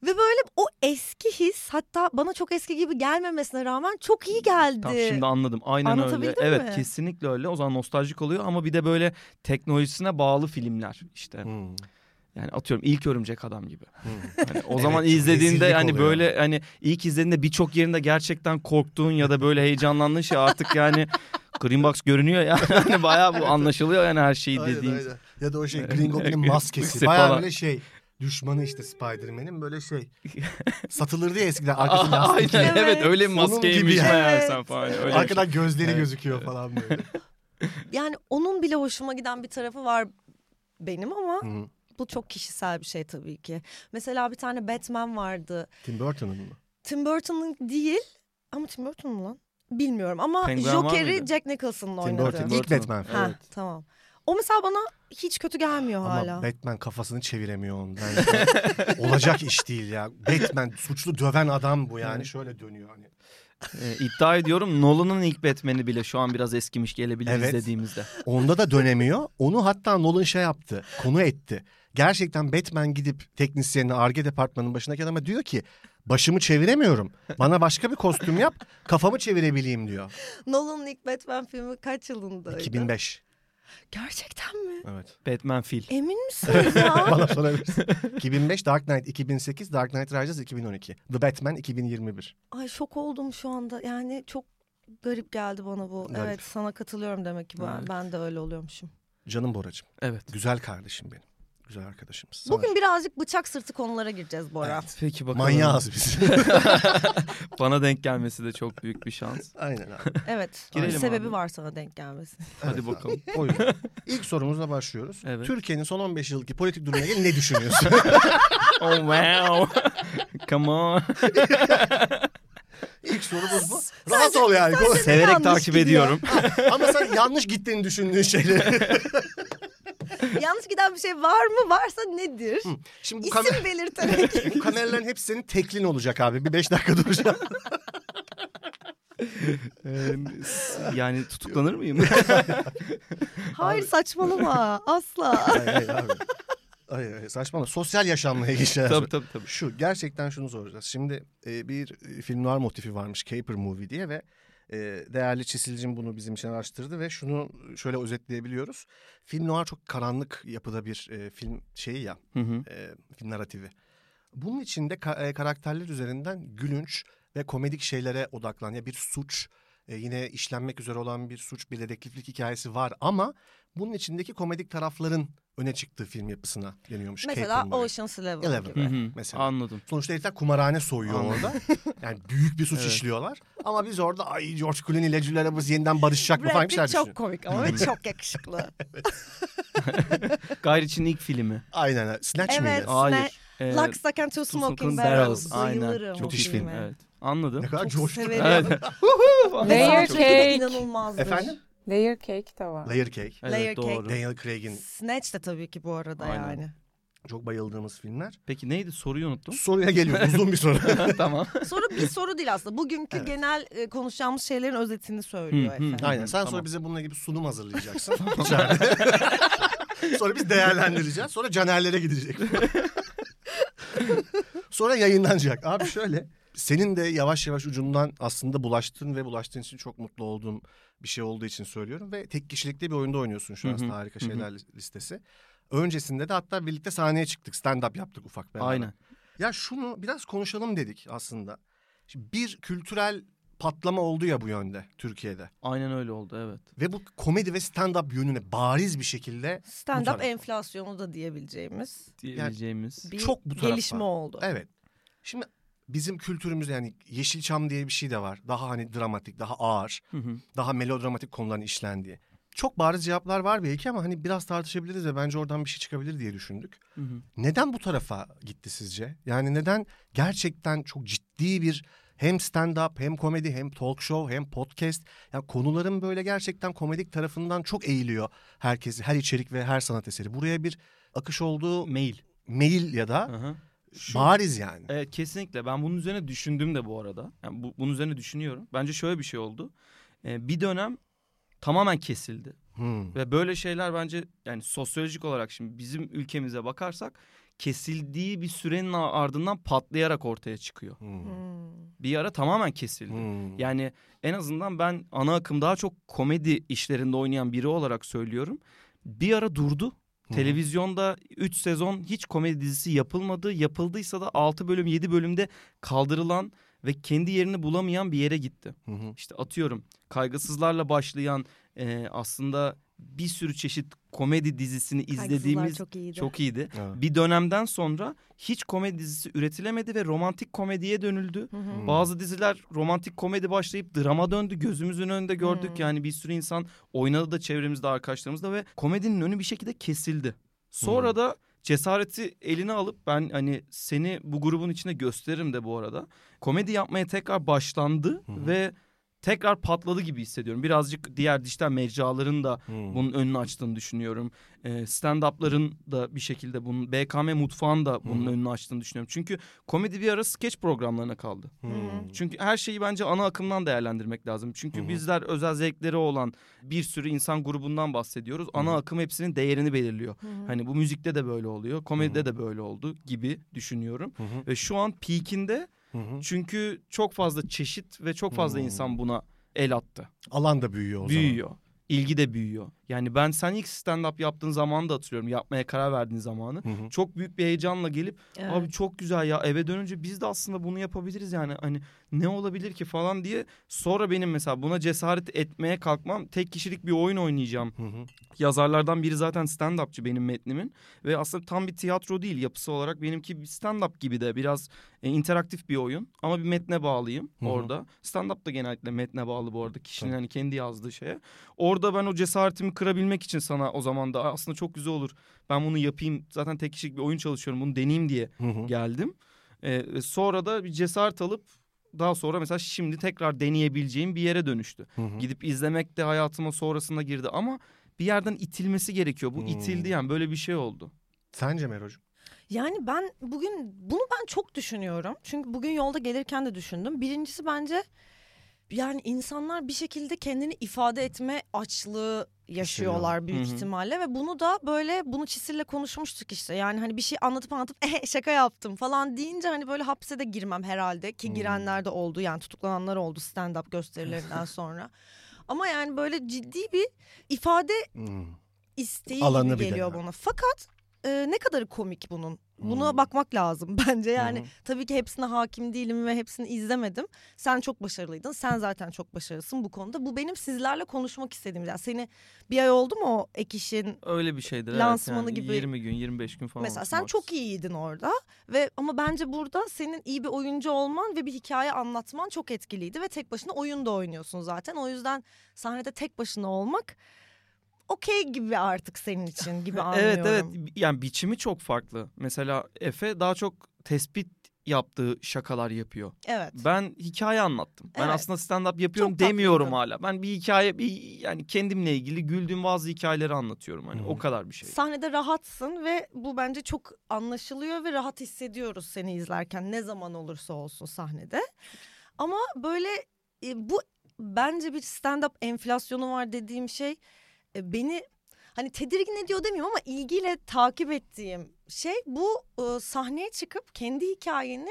Speaker 1: Ve böyle o eski his hatta bana çok eski gibi gelmemesine rağmen çok iyi geldi.
Speaker 3: Tamam şimdi anladım. Aynen öyle.
Speaker 1: Anlatabildim
Speaker 3: Evet
Speaker 1: mi?
Speaker 3: kesinlikle öyle. O zaman nostaljik oluyor ama bir de böyle teknolojisine bağlı filmler işte.
Speaker 4: Hı.
Speaker 3: Yani atıyorum ilk örümcek adam gibi.
Speaker 4: Hı.
Speaker 3: Hani o zaman
Speaker 4: Evet,
Speaker 3: izlediğinde
Speaker 4: rezillik
Speaker 3: hani
Speaker 4: oluyor.
Speaker 3: böyle hani ilk izlediğinde birçok yerinde gerçekten korktuğun ya da böyle heyecanlandığın şey artık yani Green Box görünüyor ya. Hani bayağı bu anlaşılıyor yani her şeyi
Speaker 4: Aynen,
Speaker 3: dediğin.
Speaker 4: aynen. Ya da o şey Green Goblin'in maskesi.
Speaker 3: Maskesi
Speaker 4: Baya
Speaker 3: falan.
Speaker 4: böyle şey. Düşmanı işte Spider-Man'in böyle şey. Satılırdı ya eskiden arkası lastik.
Speaker 3: Aynen evet
Speaker 1: Evet.
Speaker 3: öyle bir
Speaker 4: Onun gibi
Speaker 3: maskeymiş
Speaker 4: yani.
Speaker 3: meğersem falan. Öyle bir şey.
Speaker 4: Arkadan gözleri
Speaker 3: Evet.
Speaker 4: gözüküyor falan böyle.
Speaker 1: Yani onun bile hoşuma giden bir tarafı var benim ama
Speaker 4: Hı.
Speaker 1: bu çok kişisel bir şey tabii ki. Mesela bir tane Batman vardı.
Speaker 4: Tim Burton'ın mı?
Speaker 1: Tim Burton'ın değil ama Tim Burton mu lan? Bilmiyorum ama
Speaker 3: Penguen var mıydı?
Speaker 1: Joker'i Jack Nicholson'ın
Speaker 4: Tim
Speaker 1: oynadı.
Speaker 4: Burton. İlk
Speaker 3: Burton.
Speaker 4: Batman
Speaker 1: Ha,
Speaker 4: filmi.
Speaker 1: tamam. O mesela bana hiç kötü gelmiyor hala.
Speaker 4: Ama Batman kafasını çeviremiyor ondan. olacak iş değil ya. Batman suçlu döven adam bu yani. Şöyle dönüyor hani.
Speaker 3: Ee, iddia ediyorum Nolan'ın ilk Batman'i bile şu an biraz eskimiş gelebilir
Speaker 4: Evet.
Speaker 3: izlediğimizde.
Speaker 4: Onda da dönemiyor. Onu hatta Nolan şey yaptı. Konu etti. Gerçekten Batman gidip teknisyenine Arge departmanının başındaki adama diyor ki başımı çeviremiyorum. Bana başka bir kostüm yap kafamı çevirebileyim diyor.
Speaker 1: Nolan'ın ilk Batman filmi kaç yılındaydı?
Speaker 4: 2005.
Speaker 1: Gerçekten mi?
Speaker 4: Evet.
Speaker 3: Batman fil.
Speaker 1: Emin misiniz ya?
Speaker 4: Bana sorabilirsin. 2005 Dark Knight 2008 Dark Knight Rises 2012 The Batman 2021.
Speaker 1: Ay şok oldum şu anda. Yani çok garip geldi bana bu.
Speaker 4: Garip.
Speaker 1: Evet sana katılıyorum demek ki ben,
Speaker 3: Evet.
Speaker 1: ben de öyle oluyormuşum.
Speaker 4: Canım Boracığım.
Speaker 3: Evet.
Speaker 4: Güzel kardeşim benim. güzel arkadaşımız. Sana-
Speaker 7: Bugün birazcık bıçak sırtı konulara gireceğiz Bora.
Speaker 3: Peki bakalım.
Speaker 4: Manyağız biz.
Speaker 3: Bana denk gelmesi de çok büyük bir şans.
Speaker 4: Aynen abi.
Speaker 7: Evet.
Speaker 3: Girelim
Speaker 7: bir sebebi
Speaker 3: abi.
Speaker 7: var sana denk gelmesi.
Speaker 3: Hadi bakalım.
Speaker 4: O yüzden. İlk sorumuzla başlıyoruz.
Speaker 3: Evet.
Speaker 4: Türkiye'nin son 15 yılki politik durumuna ilgili ne düşünüyorsun?
Speaker 3: oh wow. Come on.
Speaker 4: İlk sorumuz bu. Rahat ol yani.
Speaker 3: Severek
Speaker 7: Yanlış
Speaker 3: takip
Speaker 7: gidiyor.
Speaker 3: ediyorum.
Speaker 4: Ama sen yanlış gittiğini düşündüğün şeyleri.
Speaker 7: Yanlış giden bir şey var mı? Varsa nedir?
Speaker 4: Şimdi bu, kamer-
Speaker 7: İsim belirterek.
Speaker 4: bu kameraların hepsi senin teklin olacak abi. Bir 5 dakika duracağım.
Speaker 3: Ee, yani tutuklanır mıyım?
Speaker 7: Hayır saçmalama. Asla.
Speaker 4: Hayır hayır abi. Hayır hayır saçmalama. Sosyal yaşamla ilgili şeyler.
Speaker 3: tabii tabii tabii.
Speaker 4: Şu gerçekten şunu soracağız. Şimdi e, bir e, film noir motifi varmış Caper Movie diye ve e, değerli çizilcim bunu bizim için araştırdı ve şunu şöyle özetleyebiliyoruz. Film noir çok karanlık yapıda bir e, film şeyi ya
Speaker 3: Hı hı.
Speaker 4: e, film narratifi. Bunun içinde ka- e, karakterler üzerinden gülünç ve komedik şeylere odaklan. Ya bir suç e, yine işlenmek üzere olan bir suç bir dedektiflik hikayesi var ama bunun içindeki komedik tarafların öne çıktığı film yapısına deniyormuş.
Speaker 7: Mesela
Speaker 4: Caper Movie.
Speaker 7: Ocean's Eleven.
Speaker 4: Eleven.
Speaker 7: gibi.
Speaker 3: Hı hı.
Speaker 4: Mesela.
Speaker 3: Anladım.
Speaker 4: Sonuçta herifler kumarhane soyuyor
Speaker 3: Anladım.
Speaker 4: orada. Yani büyük bir suç
Speaker 3: Evet.
Speaker 4: işliyorlar. Ama biz orada ay George Clooney ile Julia Roberts yeniden barışacak mı
Speaker 7: Brad
Speaker 4: falan bir şeyler
Speaker 7: Pitt çok
Speaker 4: düşünüyor.
Speaker 7: komik ama ve çok yakışıklı.
Speaker 3: Gayriç'in ilk filmi.
Speaker 4: Aynen öyle. Snatch
Speaker 7: Evet.
Speaker 4: miydi?
Speaker 3: Hayır. Ee,
Speaker 7: Lux Duck and Two
Speaker 3: Two
Speaker 7: Smoking Barrels.
Speaker 3: Barrels.
Speaker 7: Bayılırım.
Speaker 3: Aynen.
Speaker 7: bu
Speaker 3: Çok iyi
Speaker 4: Müthiş
Speaker 3: film.
Speaker 7: filme.
Speaker 3: Evet. Anladım.
Speaker 4: Ne kadar
Speaker 7: Çok
Speaker 4: George
Speaker 7: severim.
Speaker 3: Evet.
Speaker 7: Ve
Speaker 5: Layer
Speaker 7: soundtrack'i de
Speaker 5: Cake.
Speaker 7: inanılmazdır.
Speaker 4: Efendim?
Speaker 5: Layer Cake de var.
Speaker 4: Layer Cake.
Speaker 7: Layer
Speaker 3: evet
Speaker 7: Cake.
Speaker 3: doğru.
Speaker 4: Daniel Craig'in
Speaker 7: Snatch de tabii ki bu arada
Speaker 3: Aynen.
Speaker 7: yani.
Speaker 4: çok bayıldığımız filmler.
Speaker 3: Peki neydi soruyu unuttum.
Speaker 4: Soruya geliyor. Uzun bir soru.
Speaker 3: tamam.
Speaker 7: Soru bir soru değil aslında. Bugünkü
Speaker 4: Evet.
Speaker 7: genel e, konuşacağımız şeylerin özetini söylüyor
Speaker 3: Hı, hı.
Speaker 7: efendim.
Speaker 4: Aynen. Sen sonra
Speaker 3: Tamam.
Speaker 4: bize bununla gibi sunum hazırlayacaksın. İçeride. sonra biz değerlendireceğiz. Sonra Caner'lere gidecek. sonra yayınlanacak. Abi şöyle. Senin de yavaş yavaş ucundan aslında bulaştığın ve bulaştığın için çok mutlu olduğum bir şey olduğu için söylüyorum. Ve tek kişilikte bir oyunda oynuyorsun şu an
Speaker 3: Hı hı,
Speaker 4: aslında harika
Speaker 3: hı hı.
Speaker 4: şeyler lis- listesi. Öncesinde de hatta birlikte sahneye çıktık. Stand-up yaptık ufak beraber.
Speaker 3: Aynen.
Speaker 4: Ya şunu biraz konuşalım dedik aslında. Şimdi bir kültürel patlama oldu ya bu yönde Türkiye'de.
Speaker 3: Aynen öyle oldu evet.
Speaker 4: Ve bu komedi ve stand-up yönüne bariz bir şekilde Bu
Speaker 7: Stand-up
Speaker 4: tarafta.
Speaker 7: enflasyonu da diyebileceğimiz
Speaker 3: Diyebileceğimiz.
Speaker 7: bir
Speaker 4: Çok bu tarafta.
Speaker 7: gelişme oldu.
Speaker 4: evet. Şimdi bizim kültürümüzde yani Yeşilçam diye bir şey de var. Daha hani dramatik, daha ağır,
Speaker 3: Hı hı.
Speaker 4: daha melodramatik konuların işlendiği. Çok bariz cevaplar var belki ama hani biraz tartışabiliriz ve bence oradan bir şey çıkabilir diye düşündük.
Speaker 3: Hı hı.
Speaker 4: Neden bu tarafa gitti sizce? Yani neden gerçekten çok ciddi bir hem stand-up hem komedi hem talk show hem podcast. Yani konuların böyle gerçekten komedik tarafından çok eğiliyor herkes, her içerik ve her sanat eseri. Buraya bir akış olduğu
Speaker 3: Mail.
Speaker 4: mail ya da
Speaker 3: Aha. Şu-
Speaker 4: bariz yani.
Speaker 3: Evet kesinlikle. Ben bunun üzerine düşündüm de bu arada. Yani bu, bunun üzerine düşünüyorum. Bence şöyle bir şey oldu. Ee, bir dönem tamamen kesildi.
Speaker 4: Hmm.
Speaker 3: Ve böyle şeyler bence yani sosyolojik olarak şimdi bizim ülkemize bakarsak kesildiği bir sürenin a- ardından patlayarak ortaya çıkıyor.
Speaker 4: Hmm.
Speaker 7: Hmm.
Speaker 3: Bir ara tamamen kesildi.
Speaker 4: Hmm.
Speaker 3: Yani en azından ben ana akım daha çok komedi işlerinde oynayan biri olarak söylüyorum. Bir ara durdu.
Speaker 4: Hı.
Speaker 3: Televizyonda 3 sezon hiç komedi dizisi yapılmadı. Yapıldıysa da 6 bölüm 7 bölümde kaldırılan ve kendi yerini bulamayan bir yere gitti.
Speaker 4: Hı hı.
Speaker 3: İşte atıyorum kaygısızlarla başlayan e, aslında bir sürü çeşit komedi dizisini
Speaker 7: Kaygısızlar
Speaker 3: izlediğimiz
Speaker 7: çok iyiydi.
Speaker 3: çok iyiydi.
Speaker 4: Evet.
Speaker 3: Bir dönemden sonra hiç komedi dizisi üretilemedi ve romantik komediye dönüldü.
Speaker 7: Hı hı.
Speaker 4: Hmm.
Speaker 3: Bazı diziler romantik komedi başlayıp drama döndü. Gözümüzün önünde gördük
Speaker 7: Hmm.
Speaker 3: yani bir sürü insan oynadı da çevremizde arkadaşlarımızda ve komedinin önü bir şekilde kesildi. Sonra da cesareti eline alıp ben hani seni bu grubun içine gösteririm de bu arada. Komedi yapmaya tekrar başlandı
Speaker 4: Hı hı.
Speaker 3: ve tekrar patladı gibi hissediyorum. Birazcık diğer dijital mecraların da
Speaker 4: Hmm.
Speaker 3: bunun önünü açtığını düşünüyorum. Ee, Stand-up'ların da bir şekilde bunun BKM mutfağın da bunun
Speaker 4: Hı hı.
Speaker 3: önünü açtığını düşünüyorum. Çünkü komedi bir ara skeç programlarına kaldı.
Speaker 4: Hmm.
Speaker 3: Çünkü her şeyi bence ana akımdan değerlendirmek lazım. Çünkü
Speaker 4: Hı hı.
Speaker 3: bizler özel zevkleri olan bir sürü insan grubundan bahsediyoruz. Ana
Speaker 4: Hı hı.
Speaker 3: akım hepsinin değerini belirliyor. Hani bu müzikte de böyle oluyor, komedide
Speaker 4: Hı hı.
Speaker 3: de böyle oldu gibi düşünüyorum.
Speaker 4: Hı hı.
Speaker 3: Ve şu an peakinde
Speaker 4: Hı hı.
Speaker 3: çünkü çok fazla çeşit ve çok fazla
Speaker 4: Hı.
Speaker 3: insan buna el attı.
Speaker 4: Alan da büyüyor o zaman.
Speaker 3: büyüyor. ilgi de büyüyor. Yani ben sen ilk stand-up yaptığın zamanı da hatırlıyorum. Yapmaya karar verdiğin zamanı.
Speaker 4: Hı hı.
Speaker 3: Çok büyük bir heyecanla gelip
Speaker 7: Evet.
Speaker 3: abi çok güzel ya eve dönünce biz de aslında bunu yapabiliriz yani hani ne olabilir ki falan diye sonra benim mesela buna cesaret etmeye kalkmam tek kişilik bir oyun oynayacağım
Speaker 4: Hı hı.
Speaker 3: yazarlardan biri zaten stand-upçı benim metnimin ve aslında tam bir tiyatro değil yapısı olarak benimki bir stand-up gibi de biraz e, interaktif bir oyun ama bir metne bağlıyım
Speaker 4: Hı hı.
Speaker 3: orada. Stand-up da genellikle metne bağlı bu arada kişinin hani kendi yazdığı şeye. Orada ben o cesaretimi kırabilmek için sana o zaman da "Aa, aslında çok güzel olur ben bunu yapayım zaten tek kişilik bir oyun çalışıyorum bunu deneyeyim diye
Speaker 4: Hı hı.
Speaker 3: geldim. E, sonra da bir cesaret alıp daha sonra mesela şimdi tekrar deneyebileceğim bir yere dönüştü.
Speaker 4: Hı hı.
Speaker 3: Gidip izlemek de hayatıma sonrasında girdi ama bir yerden itilmesi gerekiyor. Bu
Speaker 4: Hmm.
Speaker 3: itildi yani böyle bir şey oldu.
Speaker 4: Sence Mero'cum?
Speaker 1: Yani ben bugün bunu ben çok düşünüyorum. Çünkü bugün yolda gelirken de düşündüm. Birincisi bence yani insanlar bir şekilde kendini ifade etme açlığı yaşıyorlar büyük
Speaker 3: Hı hı.
Speaker 1: ihtimalle ve bunu da böyle bunu Çisil'le konuşmuştuk işte. Yani hani bir şey anlatıp anlatıp "Eh, şaka yaptım falan deyince hani böyle hapse de girmem herhalde
Speaker 3: Hmm.
Speaker 1: ki girenler de oldu yani tutuklananlar oldu stand up gösterilerinden sonra. Ama yani böyle ciddi bir ifade
Speaker 4: Hmm.
Speaker 1: isteği
Speaker 4: Alanı
Speaker 1: gibi
Speaker 4: bir de
Speaker 1: geliyor
Speaker 4: yani.
Speaker 1: buna. Fakat e, ne kadarı komik bunun? Buna
Speaker 4: Hmm.
Speaker 1: bakmak lazım bence yani.
Speaker 4: Hı hı.
Speaker 1: Tabii ki hepsine hakim değilim ve hepsini izlemedim. Sen çok başarılıydın. Sen zaten çok başarılısın bu konuda. Bu benim sizlerle konuşmak istediğim. Yani seni bir ay oldu mu o ek işin?
Speaker 3: Öyle bir şeydir.
Speaker 1: evet. Lansmanı Yani gibi. 20
Speaker 3: 20 gün 25 gün falan.
Speaker 1: Mesela sen çok iyiydin orada ve ama bence burada senin iyi bir oyuncu olman ve bir hikaye anlatman çok etkiliydi ve tek başına oyun da oynuyorsun zaten. O yüzden sahnede tek başına olmak okey gibi artık senin için gibi anlıyorum.
Speaker 3: Evet evet yani biçimi çok farklı. Mesela Efe daha çok tespit yaptığı şakalar yapıyor.
Speaker 1: Evet.
Speaker 3: Ben hikaye anlattım. Ben
Speaker 1: Evet.
Speaker 3: aslında stand up yapıyorum
Speaker 1: Çok tatlıydı.
Speaker 3: demiyorum hala. Ben bir hikaye bir yani kendimle ilgili güldüğüm bazı hikayeleri anlatıyorum hani
Speaker 4: Hı hı.
Speaker 3: o kadar bir şey.
Speaker 1: Sahnede rahatsın ve bu bence çok anlaşılıyor ve rahat hissediyoruz seni izlerken ne zaman olursa olsun sahnede. Ama böyle e, bu bence bir stand-up enflasyonu var dediğim şey e, beni hani tedirgin ediyor demiyorum ama ilgiyle takip ettiğim şey bu e, sahneye çıkıp kendi hikayeni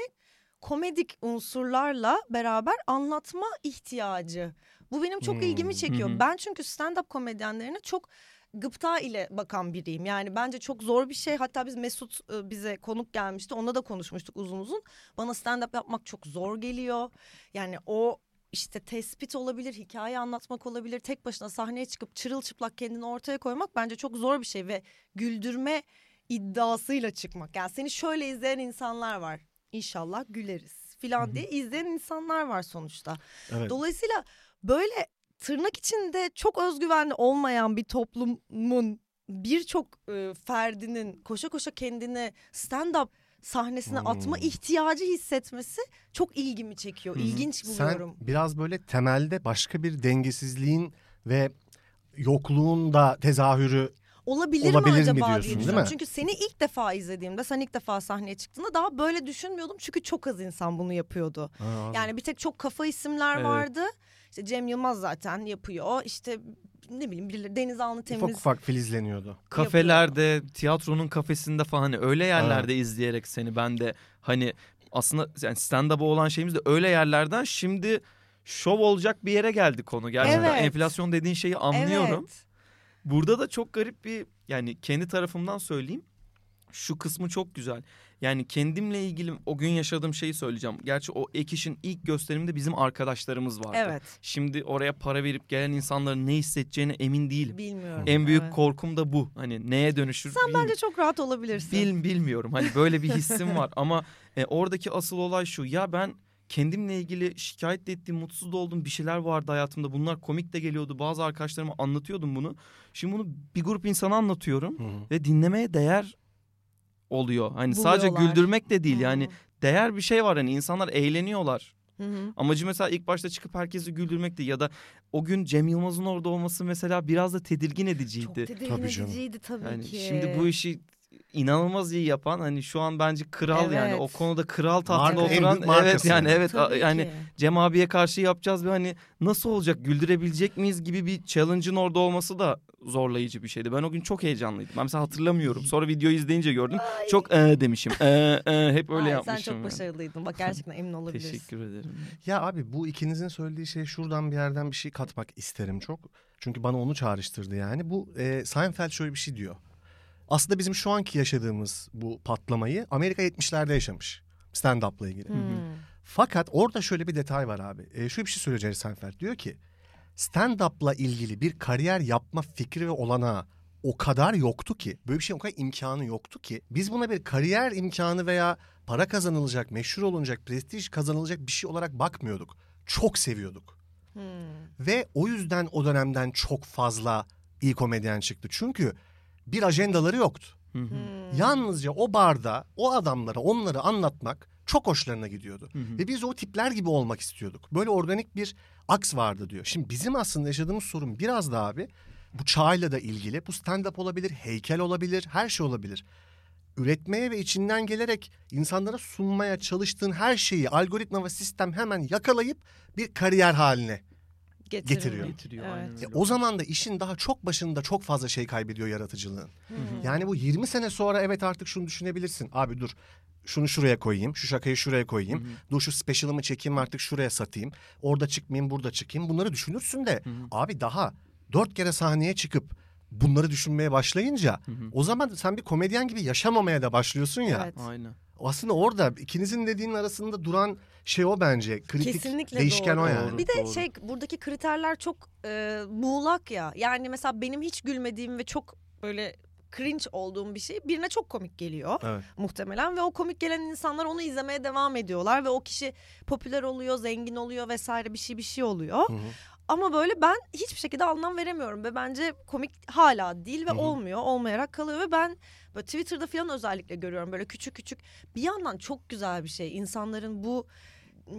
Speaker 1: komedik unsurlarla beraber anlatma ihtiyacı. Bu benim çok ilgimi
Speaker 4: Hmm.
Speaker 1: çekiyor.
Speaker 3: Hı hı.
Speaker 1: Ben çünkü stand-up komedyenlerine çok gıpta ile bakan biriyim. Yani bence çok zor bir şey. Hatta biz Mesut e, bize konuk gelmişti. Onunla da konuşmuştuk uzun uzun. Bana stand-up yapmak çok zor geliyor. Yani o işte tespit olabilir, hikaye anlatmak olabilir. Tek başına sahneye çıkıp çırılçıplak kendini ortaya koymak bence çok zor bir şey ve güldürme iddiasıyla çıkmak. Yani seni şöyle izleyen insanlar var. İnşallah güleriz filan diye izleyen insanlar var sonuçta.
Speaker 4: Evet.
Speaker 1: Dolayısıyla böyle tırnak içinde çok özgüvenli olmayan bir toplumun birçok e, ferdinin koşa koşa kendini stand-up sahnesine atma
Speaker 4: Hmm.
Speaker 1: ihtiyacı hissetmesi çok ilgimi çekiyor.
Speaker 3: Hı hı.
Speaker 1: İlginç buluyorum.
Speaker 4: Sen biraz böyle temelde başka bir dengesizliğin ve yokluğun da tezahürü
Speaker 1: Olabilir,
Speaker 4: Olabilir
Speaker 1: mi
Speaker 4: mi
Speaker 1: acaba
Speaker 4: diyorsun,
Speaker 1: diye
Speaker 4: değil
Speaker 1: düşünüyorum.
Speaker 4: mi?
Speaker 1: Çünkü seni ilk defa izlediğimde, sen ilk defa sahneye çıktığında daha böyle düşünmüyordum. Çünkü çok az insan bunu yapıyordu. Yani bir tek çok kafa isimler
Speaker 3: Evet.
Speaker 1: vardı. İşte Cem Yılmaz zaten yapıyor. İşte ne bileyim birileri Deniz Alnı Temiz.
Speaker 4: ufak ufak filizleniyordu.
Speaker 3: kafelerde, tiyatronun kafesinde falan hani öyle yerlerde izleyerek seni ben de hani aslında yani stand-up'a olan şeyimiz de öyle yerlerden şimdi şov olacak bir yere geldi konu gerçekten.
Speaker 1: Evet.
Speaker 3: Enflasyon dediğin şeyi anlıyorum.
Speaker 1: Evet.
Speaker 3: Burada da çok garip bir yani kendi tarafımdan söyleyeyim. Şu kısmı çok güzel. Yani kendimle ilgili o gün yaşadığım şeyi söyleyeceğim. Gerçi o ek işin ilk gösteriminde bizim arkadaşlarımız vardı.
Speaker 1: Evet.
Speaker 3: Şimdi oraya para verip gelen insanların ne hissedeceğine emin değilim.
Speaker 1: Bilmiyorum.
Speaker 3: En büyük
Speaker 1: Evet.
Speaker 3: korkum da bu. Hani neye dönüşür
Speaker 1: Sen
Speaker 3: bilmiyorum.
Speaker 1: bence çok rahat olabilirsin.
Speaker 3: Bil, bilmiyorum. Hani böyle bir hissim var ama e, oradaki asıl olay şu. Ya ben kendimle ilgili şikayet de ettiğim, mutsuz da olduğum bir şeyler vardı hayatımda. Bunlar komik de geliyordu. Bazı arkadaşlarıma anlatıyordum bunu. Şimdi bunu bir grup insana anlatıyorum
Speaker 4: Hı hı.
Speaker 3: ve dinlemeye değer oluyor. Hani sadece
Speaker 1: Buluyorlar.
Speaker 3: güldürmek de değil
Speaker 1: Hı.
Speaker 3: yani değer bir şey var hani insanlar eğleniyorlar.
Speaker 1: Hı hı.
Speaker 3: Amacı mesela ilk başta çıkıp herkesi güldürmekti ya da o gün Cem Yılmaz'ın orada olması mesela biraz da tedirgin ediciydi.
Speaker 1: Çok tedirgin
Speaker 4: Tabii canım.
Speaker 1: ediciydi tabii
Speaker 3: Yani
Speaker 1: ki.
Speaker 3: Hani şimdi bu işi inanılmaz iyi yapan hani şu an bence kral yani
Speaker 8: Evet.
Speaker 3: o konuda kral tahtında
Speaker 4: Marka, en
Speaker 3: oturan
Speaker 4: büyük markası
Speaker 3: evet yani
Speaker 4: yani.
Speaker 3: evet a-
Speaker 1: Tabii
Speaker 3: yani
Speaker 1: ki.
Speaker 3: Cem abiye karşı yapacağız bir hani nasıl olacak güldürebilecek miyiz gibi bir challenge'ın orada olması da zorlayıcı bir şeydi. Ben o gün çok heyecanlıydım. Ben mesela hatırlamıyorum. Sonra videoyu izleyince gördüm. Çok ee demişim. Ee, ee, hep öyle
Speaker 1: Ay,
Speaker 3: yapmışım.
Speaker 1: Sen çok
Speaker 3: yani.
Speaker 1: başarılıydın. Bak gerçekten emin olabilirsin.
Speaker 3: Teşekkür ederim.
Speaker 4: Ya abi bu ikinizin söylediği şey şuradan bir yerden bir şey katmak isterim çok. Çünkü bana onu çağrıştırdı yani. Bu e, Seinfeld şöyle bir şey diyor. Aslında bizim şu anki yaşadığımız bu patlamayı Amerika 70'lerde yaşamış. Stand-up'la ilgili. Fakat orada şöyle bir detay var abi. E, şöyle bir şey söylüyor Jerry Seinfeld. Diyor ki stand-up'la ilgili bir kariyer yapma fikri ve olanağı o kadar yoktu ki. Böyle bir şey o kadar imkanı yoktu ki. Biz buna bir kariyer imkanı veya para kazanılacak, meşhur olunacak, prestij kazanılacak bir şey olarak bakmıyorduk. Çok seviyorduk. Ve o yüzden o dönemden çok fazla iyi komedyen çıktı. Çünkü bir ajendaları yoktu.
Speaker 1: Hmm,
Speaker 4: Yalnızca o barda o adamlara onları anlatmak çok hoşlarına gidiyordu. Ve biz o tipler gibi olmak istiyorduk. Böyle organik bir aks vardı diyor. Şimdi bizim aslında yaşadığımız sorun biraz da abi bu çağla da ilgili. Bu stand-up olabilir, heykel olabilir, her şey olabilir. Üretmeye ve içinden gelerek insanlara sunmaya çalıştığın her şeyi algoritma ve sistem hemen yakalayıp bir kariyer haline getiriyor.
Speaker 3: Getiriyor
Speaker 1: Evet.
Speaker 3: aynen
Speaker 4: E,
Speaker 3: öyle.
Speaker 4: o zaman da işin daha çok başında çok fazla şey kaybediyor yaratıcılığın. Yani bu 20 sene sonra evet artık şunu düşünebilirsin. Abi dur şunu şuraya koyayım, şu şakayı şuraya koyayım. Dur şu special'ımı çekeyim artık şuraya satayım. Orada çıkmayayım, burada çıkayım. Bunları düşünürsün de abi daha dört kere sahneye çıkıp bunları düşünmeye başlayınca o zaman sen bir komedyen gibi yaşamamaya da başlıyorsun ya.
Speaker 1: Evet.
Speaker 3: Aynen.
Speaker 4: Aslında orada ikinizin dediğinin arasında duran şey o bence. Kritik
Speaker 1: Kesinlikle
Speaker 4: değişken
Speaker 1: doğru.
Speaker 4: o yani.
Speaker 3: Doğru.
Speaker 1: Bir de şey buradaki kriterler çok e, muğlak ya. Yani mesela benim hiç gülmediğim ve çok böyle cringe olduğum bir şey birine çok komik geliyor
Speaker 4: Evet.
Speaker 1: muhtemelen ve o komik gelen insanlar onu izlemeye devam ediyorlar ve o kişi popüler oluyor, zengin oluyor vesaire bir şey bir şey oluyor.
Speaker 4: Hı hı.
Speaker 1: Ama böyle ben hiçbir şekilde anlam veremiyorum ve bence komik hala değil ve
Speaker 4: Hı hı.
Speaker 1: olmuyor, olmayarak kalıyor ve ben böyle Twitter'da falan özellikle görüyorum böyle küçük küçük bir yandan çok güzel bir şey insanların bu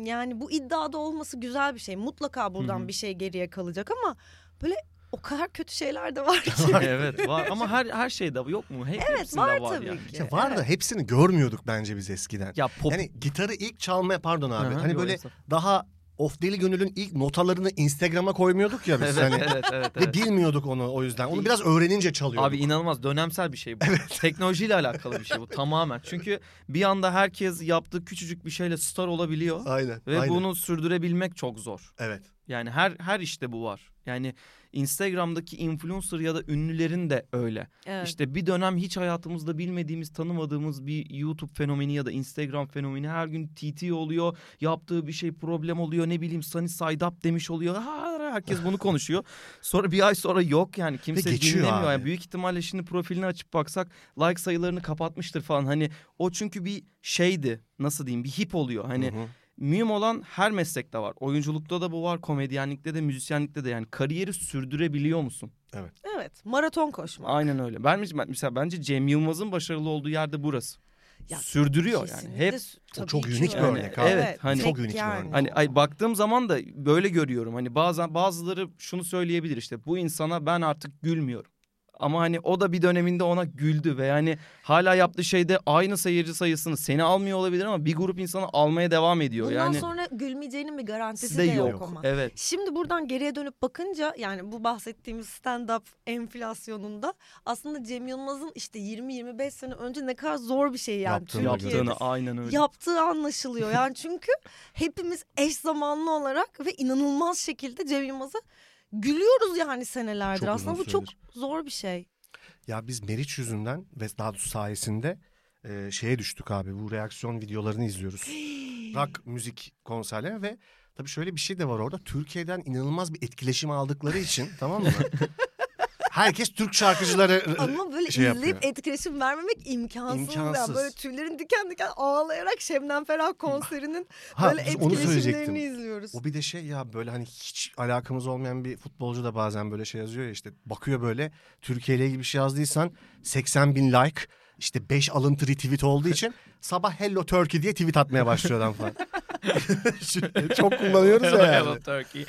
Speaker 1: yani bu iddiada olması güzel bir şey. Mutlaka buradan
Speaker 3: Hı hı.
Speaker 1: bir şey geriye kalacak ama böyle o kadar kötü şeyler de var ki.
Speaker 3: evet var ama her her şeyde yok mu? Hep,
Speaker 1: evet
Speaker 3: hepsinde
Speaker 1: var
Speaker 3: var
Speaker 1: tabii
Speaker 3: yani.
Speaker 1: ki.
Speaker 4: Ya var da hepsini görmüyorduk bence biz eskiden.
Speaker 3: Ya pop
Speaker 4: Yani gitarı ilk çalmaya pardon abi.
Speaker 3: Aha,
Speaker 4: hani
Speaker 3: yo,
Speaker 4: böyle
Speaker 3: estağfurullah.
Speaker 4: daha of deli gönülün ilk notalarını Instagram'a koymuyorduk ya biz hani.
Speaker 3: evet, evet evet
Speaker 4: Ve
Speaker 3: evet.
Speaker 4: bilmiyorduk onu o yüzden. Onu biraz öğrenince çalıyorduk.
Speaker 3: Abi inanılmaz dönemsel bir şey bu. Teknolojiyle alakalı bir şey bu tamamen. Çünkü bir anda herkes yaptığı küçücük bir şeyle star olabiliyor
Speaker 4: aynen.
Speaker 3: ve
Speaker 4: aynen.
Speaker 3: bunu sürdürebilmek çok zor.
Speaker 4: evet.
Speaker 3: Yani her her işte bu var. Yani Instagram'daki influencer ya da ünlülerin de öyle.
Speaker 1: Evet.
Speaker 3: İşte bir dönem hiç hayatımızda bilmediğimiz, tanımadığımız bir YouTube fenomeni ya da Instagram fenomeni her gün TT oluyor. Yaptığı bir şey problem oluyor. Ne bileyim Sunny Side Up demiş oluyor. Ha, herkes bunu konuşuyor. Sonra bir ay sonra yok yani kimse
Speaker 4: geçiyor
Speaker 3: dinlemiyor.
Speaker 4: abi.
Speaker 3: Yani büyük ihtimalle şimdi profilini açıp baksak like sayılarını kapatmıştır falan. Hani o çünkü bir şeydi. Nasıl diyeyim? Bir hip oluyor. Hani
Speaker 4: Hı hı.
Speaker 3: mühim olan her meslekte var. Oyunculukta da bu var, komedyenlikte de, müzisyenlikte de yani kariyeri sürdürebiliyor musun?
Speaker 1: Evet. Maraton koşma.
Speaker 3: Aynen öyle. Ben ben- mesela bence Cem Yılmaz'ın başarılı olduğu yerde burası.
Speaker 1: Ya,
Speaker 3: Sürdürüyor yani.
Speaker 1: Kesinlikle
Speaker 3: Hep
Speaker 1: s- tabii
Speaker 4: çok
Speaker 1: ki
Speaker 4: unique bir
Speaker 1: öyle.
Speaker 4: örnek abi.
Speaker 3: Evet, hani-
Speaker 4: Çok unique bir örnek.
Speaker 3: Hani ay, baktığım zaman da böyle görüyorum. Hani bazen bazıları şunu söyleyebilir işte bu insana ben artık gülmüyorum. Ama hani o da bir döneminde ona güldü ve yani hala yaptığı şeyde aynı seyirci sayısını seni almıyor olabilir ama bir grup insanı almaya devam ediyor.
Speaker 1: Bundan
Speaker 3: yani
Speaker 1: sonra gülmeyeceğinin bir garantisi
Speaker 3: size
Speaker 1: de yok,
Speaker 3: yok.
Speaker 1: ama.
Speaker 3: Evet.
Speaker 1: Şimdi buradan geriye dönüp bakınca yani bu bahsettiğimiz stand-up enflasyonunda aslında Cem Yılmaz'ın işte 20-25 sene önce ne kadar zor bir şey yani.
Speaker 4: Yaptığını
Speaker 1: Türkiye'de
Speaker 3: Yaptığını aynen öyle.
Speaker 1: yaptığı anlaşılıyor. Yani çünkü hepimiz eş zamanlı olarak ve inanılmaz şekilde Cem Yılmaz'a gülüyoruz yani senelerdir.
Speaker 4: Çok uzun
Speaker 1: Aslında bu çok
Speaker 4: süredir.
Speaker 1: zor bir şey.
Speaker 4: Ya biz Meriç yüzünden ve daha doğrusu sayesinde e, şeye düştük abi. Bu reaksiyon videolarını izliyoruz. Rock müzik konserleri ve tabii şöyle bir şey de var orada. Türkiye'den inanılmaz bir etkileşim aldıkları için tamam mı? Herkes Türk şarkıcıları
Speaker 1: Ama böyle
Speaker 4: şey
Speaker 1: izleyip
Speaker 4: yapıyor.
Speaker 1: etkileşim vermemek imkansız.
Speaker 4: İmkansız.
Speaker 1: Yani böyle tüylerin diken diken ağlayarak Şebnem Ferah konserinin
Speaker 4: Ha,
Speaker 1: böyle
Speaker 4: biz onu
Speaker 1: etkileşimlerini
Speaker 4: söyleyecektim.
Speaker 1: izliyoruz.
Speaker 4: O bir de şey ya böyle hani hiç alakamız olmayan bir futbolcu da bazen böyle şey yazıyor ya işte bakıyor böyle Türkiye ile ilgili bir şey yazdıysan 80 bin like işte 5 alıntı retweet olduğu için sabah hello Turkey diye tweet atmaya başlıyor adam falan. Çok kullanıyoruz ya yani.
Speaker 3: Turkey.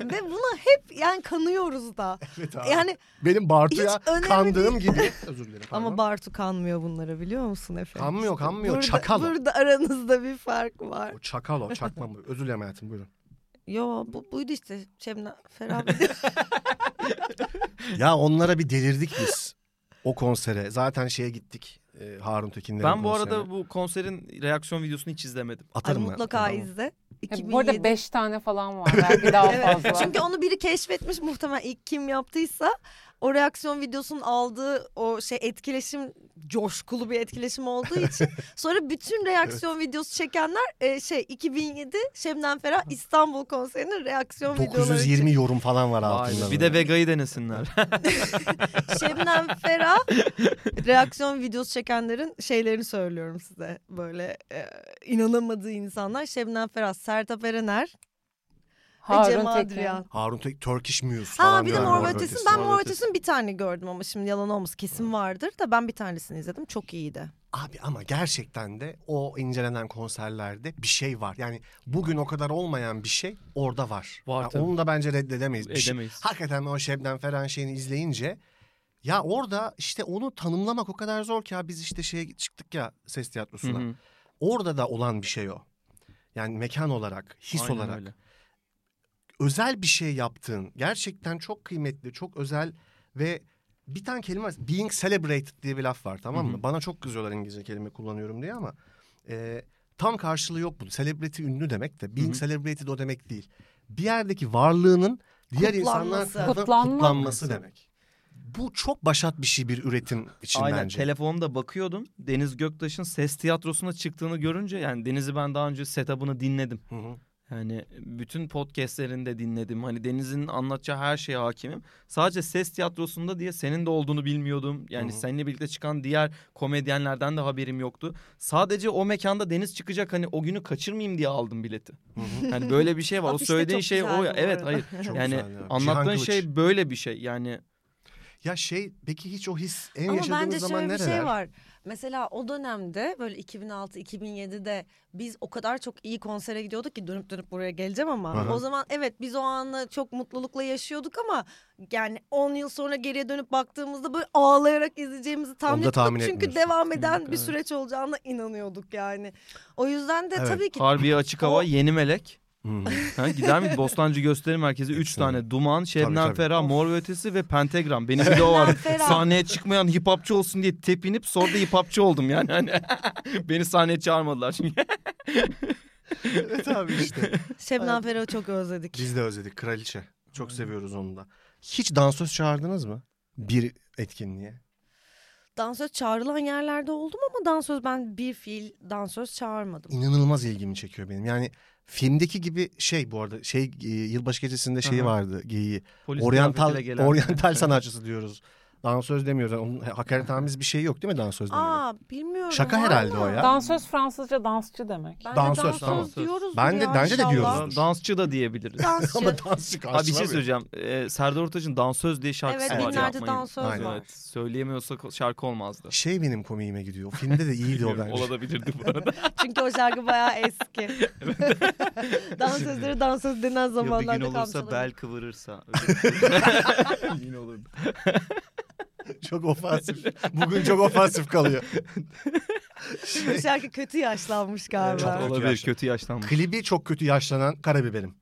Speaker 1: Ve buna hep yani kanıyoruz da.
Speaker 4: Evet abi.
Speaker 1: Yani
Speaker 4: Benim Bartu'ya
Speaker 1: Hiç önemli
Speaker 4: kandığım gibi. Özür dilerim.
Speaker 1: ama
Speaker 4: pardon.
Speaker 1: Bartu kanmıyor bunlara biliyor musun efendim?
Speaker 4: Kanmıyor,
Speaker 1: İşte
Speaker 4: kanmıyor,
Speaker 1: Burada,
Speaker 4: çakal o.
Speaker 1: Burada aranızda bir fark var.
Speaker 4: O çakal o çakma mı? Özür dilerim hayatım buyurun.
Speaker 1: Yo bu buydu işte Şebnem Ferah. bir de-
Speaker 4: Ya onlara bir delirdik biz. O konsere. Zaten şeye gittik. e, Harun Tekin'lerin
Speaker 3: Ben bu arada
Speaker 4: konserine.
Speaker 3: bu konserin reaksiyon videosunu hiç izlemedim.
Speaker 1: Ay,
Speaker 4: Atarım ben,
Speaker 1: mutlaka
Speaker 4: atarım.
Speaker 1: izle.
Speaker 5: E,
Speaker 1: 2007.
Speaker 5: bu arada beş tane falan var. Belki daha
Speaker 1: Evet.
Speaker 5: fazla.
Speaker 1: Çünkü onu biri keşfetmiş muhtemelen ilk kim yaptıysa o reaksiyon videosunun aldığı o şey etkileşim coşkulu bir etkileşim olduğu için sonra bütün reaksiyon videosu çekenler e, şey 2007 Şebnem Ferah İstanbul konserinin reaksiyon videoları için.
Speaker 4: 920 yorum falan var
Speaker 3: Vay be.
Speaker 4: altında.
Speaker 3: bir de Vega'yı denesinler.
Speaker 1: Şebnem Ferah reaksiyon videosu çekenlerin şeylerini söylüyorum size. Böyle e, inanamadığı insanlar Şebnem Ferah, Sertab Erener ve Cem
Speaker 5: Harun Tekin.
Speaker 1: Adrian.
Speaker 4: Harun Tekin Turkish Muse falan.
Speaker 1: Ha bir de
Speaker 4: yani.
Speaker 1: Mor ve
Speaker 3: Mor ve
Speaker 1: Ötesi.
Speaker 3: Ötesi,
Speaker 1: Ben
Speaker 3: Mor ve
Speaker 1: Mor ve
Speaker 3: Ötesi.
Speaker 1: Ötesi'nin bir tane gördüm ama şimdi yalan olmaz. Kesin vardır da ben bir tanesini izledim. Çok iyiydi.
Speaker 4: Abi ama gerçekten de o incelenen konserlerde bir şey var. Yani bugün o kadar olmayan bir şey orada var.
Speaker 3: Var
Speaker 4: Yani
Speaker 3: tabii.
Speaker 4: onu da bence reddedemeyiz. Bir şey-
Speaker 3: Edemeyiz.
Speaker 4: hakikaten o Şebnem Ferhan şeyini izleyince ya orada işte onu tanımlamak o kadar zor ki ya biz işte şeye çıktık ya ses
Speaker 3: Hı
Speaker 4: tiyatrosuna.
Speaker 3: hı.
Speaker 4: Orada da olan bir şey o. Yani mekan olarak, his
Speaker 3: Aynen
Speaker 4: olarak
Speaker 3: öyle.
Speaker 4: özel bir şey yaptığın gerçekten çok kıymetli, çok özel ve bir tane kelime var. Being celebrated diye bir laf var tamam mı?
Speaker 3: Hı hı.
Speaker 4: Bana çok kızıyorlar İngilizce kelime kullanıyorum diye ama e, tam karşılığı yok bunun. Celebrity ünlü demek de being
Speaker 3: Hı hı.
Speaker 4: celebrated o demek değil. Bir yerdeki varlığının diğer insanlar
Speaker 1: Kutlanması.
Speaker 4: tarafından
Speaker 5: Kutlanma.
Speaker 4: kutlanması demek. Bu çok başat bir şey bir üretim için
Speaker 3: Aynen
Speaker 4: bence.
Speaker 3: telefonumda bakıyordum. Deniz Göktaş'ın ses tiyatrosuna çıktığını görünce yani Deniz'i ben daha önce setup'ını dinledim.
Speaker 4: Hı hı.
Speaker 3: Yani bütün podcastlerinde dinledim. Hani Deniz'in anlatacağı her şeye hakimim. Sadece ses tiyatrosunda diye senin de olduğunu bilmiyordum. Yani
Speaker 4: Hı hı.
Speaker 3: seninle birlikte çıkan diğer komedyenlerden de haberim yoktu. Sadece o mekanda Deniz çıkacak hani o günü kaçırmayayım diye aldım bileti.
Speaker 4: Hı hı.
Speaker 3: Yani böyle bir şey var. o
Speaker 1: Afişte
Speaker 3: söylediğin
Speaker 1: çok
Speaker 3: şey o.
Speaker 1: güzeldi
Speaker 3: ya.
Speaker 1: bu
Speaker 3: Evet
Speaker 1: arada.
Speaker 3: hayır.
Speaker 4: Çok
Speaker 3: yani
Speaker 4: güzel ya.
Speaker 3: anlattığın
Speaker 4: Cihan Kılıç.
Speaker 3: şey böyle bir şey. Yani
Speaker 4: Ya şey peki hiç o his en
Speaker 1: Ama
Speaker 4: yaşadığınız
Speaker 1: bence
Speaker 4: zaman
Speaker 1: şöyle bir
Speaker 4: nereler?
Speaker 1: şey var. Mesela o dönemde böyle 2006-2007'de biz o kadar çok iyi konsere gidiyorduk ki dönüp dönüp buraya geleceğim ama
Speaker 4: Aha.
Speaker 1: o zaman evet biz o anı çok mutlulukla yaşıyorduk ama yani 10 yıl sonra geriye dönüp baktığımızda böyle ağlayarak izleyeceğimizi tahmin
Speaker 4: Onu da
Speaker 1: etmiyorduk.
Speaker 4: tahmin
Speaker 1: Çünkü
Speaker 4: etmiyorsun.
Speaker 1: devam eden bir
Speaker 3: evet.
Speaker 1: süreç olacağına inanıyorduk yani. O yüzden de
Speaker 4: Evet.
Speaker 1: tabii ki
Speaker 3: Harbiye Açık Hava, Yeni Melek.
Speaker 4: Hı hı.
Speaker 3: Ha, gider miydi? Bostancı Gösteri Merkezi 3
Speaker 4: Excellent.
Speaker 3: tane. Duman, Şebnem
Speaker 4: E, Tabii, tabii.
Speaker 3: Ferah, Mor ve Ötesi ve Pentagram. Benim bir de o vardı.
Speaker 1: Şebnem Ferah.
Speaker 3: Sahneye çıkmayan hip hopçı olsun diye tepinip sonra da hip hopçı oldum yani. Hani beni sahneye çağırmadılar çünkü.
Speaker 4: evet abi işte.
Speaker 1: Şebnem Ferah'ı çok özledik.
Speaker 4: Biz de özledik kraliçe. Çok seviyoruz onu da. Hiç dansöz çağırdınız mı? Bir etkinliğe.
Speaker 1: Dansöz çağrılan yerlerde oldum ama dansöz ben bir fiil dansöz çağırmadım.
Speaker 4: İnanılmaz ilgimi çekiyor benim. Yani filmdeki gibi şey bu arada şey e, yılbaşı gecesinde şeyi
Speaker 3: Aha.
Speaker 4: vardı geyiği.
Speaker 3: Polis
Speaker 4: Oriental
Speaker 3: kıyafetiyle gelen.
Speaker 4: oryantal sanatçısı diyoruz. Dansöz demiyoruz. Yani onun hakaretamiz bir şey yok değil mi dansöz demenin?
Speaker 1: Aa bilmiyorum.
Speaker 4: Şaka
Speaker 1: var
Speaker 4: herhalde
Speaker 1: mı?
Speaker 4: o ya.
Speaker 5: Dansöz Fransızca dansçı demek.
Speaker 1: Ben de
Speaker 4: Dansöz,
Speaker 1: dansöz
Speaker 3: dansöz.
Speaker 1: diyoruz.
Speaker 4: Ben de-
Speaker 1: ya,
Speaker 4: bence de
Speaker 1: inşallah.
Speaker 4: diyoruz.
Speaker 3: Dan- dansçı da diyebiliriz.
Speaker 1: Dansçı.
Speaker 4: Ama dansçı
Speaker 3: Abi bir şey
Speaker 4: karşılamıyor.
Speaker 3: söyleyeceğim. Ee, Serdar Ortaç'ın Dansöz diye şarkısı
Speaker 1: evet
Speaker 3: var.
Speaker 1: günlerde
Speaker 3: yapmayın.
Speaker 1: dansöz
Speaker 4: Aynen.
Speaker 1: var.
Speaker 3: Evet, söyleyemiyorsak şarkı olmazdı.
Speaker 4: Şey benim komiğime gidiyor. O Filmde de iyiydi o
Speaker 3: Bilmiyorum,
Speaker 4: bence.
Speaker 3: Olabilirdi bu arada.
Speaker 1: Çünkü o şarkı bayağı eski. Dansözleri dansöz denen
Speaker 3: Ya bir
Speaker 1: zamanlarda
Speaker 3: gün olursa
Speaker 1: kalmış
Speaker 3: bel
Speaker 1: olabilir.
Speaker 3: kıvırırsa. öyle bir- Yine olur.
Speaker 4: çok ofansif. Bugün çok ofansif kalıyor.
Speaker 1: Bu şarkı kötü yaşlanmış galiba.
Speaker 4: Çok-
Speaker 3: Olabilir
Speaker 4: yaşlı.
Speaker 3: kötü yaşlanmış.
Speaker 4: Klibi çok kötü yaşlanan karabiberim.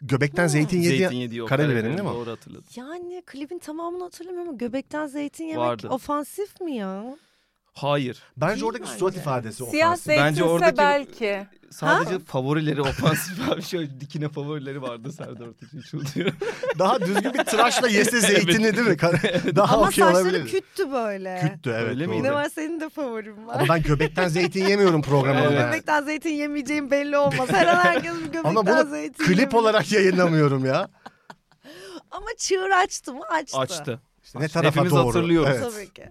Speaker 4: Göbekten zeytin yedi.
Speaker 3: Zeytin yediği o
Speaker 4: Karabiberin
Speaker 3: karabiberin,
Speaker 4: değil mi o?
Speaker 3: Doğru hatırladım.
Speaker 1: Yani klibin tamamını hatırlamıyorum ama göbekten zeytin yemek
Speaker 3: Vardı.
Speaker 1: ofansif mi ya?
Speaker 3: Hayır.
Speaker 4: Bence
Speaker 1: Değil
Speaker 4: oradaki
Speaker 1: bence.
Speaker 4: surat ifadesi
Speaker 5: Siyah
Speaker 4: ofansif.
Speaker 5: zeytinse
Speaker 3: Bence oradaki-
Speaker 5: belki.
Speaker 3: Sadece favorileri ofansif abi. Şöyle dikine favorileri vardı Serdar Ortaç'ın. Şunu diyorum.
Speaker 4: Daha düzgün bir tıraşla yese zeytini değil mi? Daha
Speaker 1: ama
Speaker 4: okey
Speaker 1: saçları
Speaker 4: olabilir.
Speaker 1: küttü böyle.
Speaker 4: Küttü evet.
Speaker 3: Öyle miydi?
Speaker 4: doğru.
Speaker 1: Ne var senin de favorin var.
Speaker 4: Ama ben göbekten zeytin yemiyorum programında.
Speaker 3: Evet.
Speaker 1: Göbekten zeytin yemeyeceğim belli olmaz. Her an herkes bir göbekten
Speaker 4: Ama bunu
Speaker 1: zeytin
Speaker 4: klip
Speaker 1: yemiş.
Speaker 4: olarak yayınlamıyorum ya.
Speaker 1: Ama çığır açtı mı? Açtı.
Speaker 3: Açtı.
Speaker 4: Ne tarafa
Speaker 3: Hepimiz
Speaker 4: doğru.
Speaker 3: hatırlıyoruz.
Speaker 4: Evet.
Speaker 1: Tabii ki.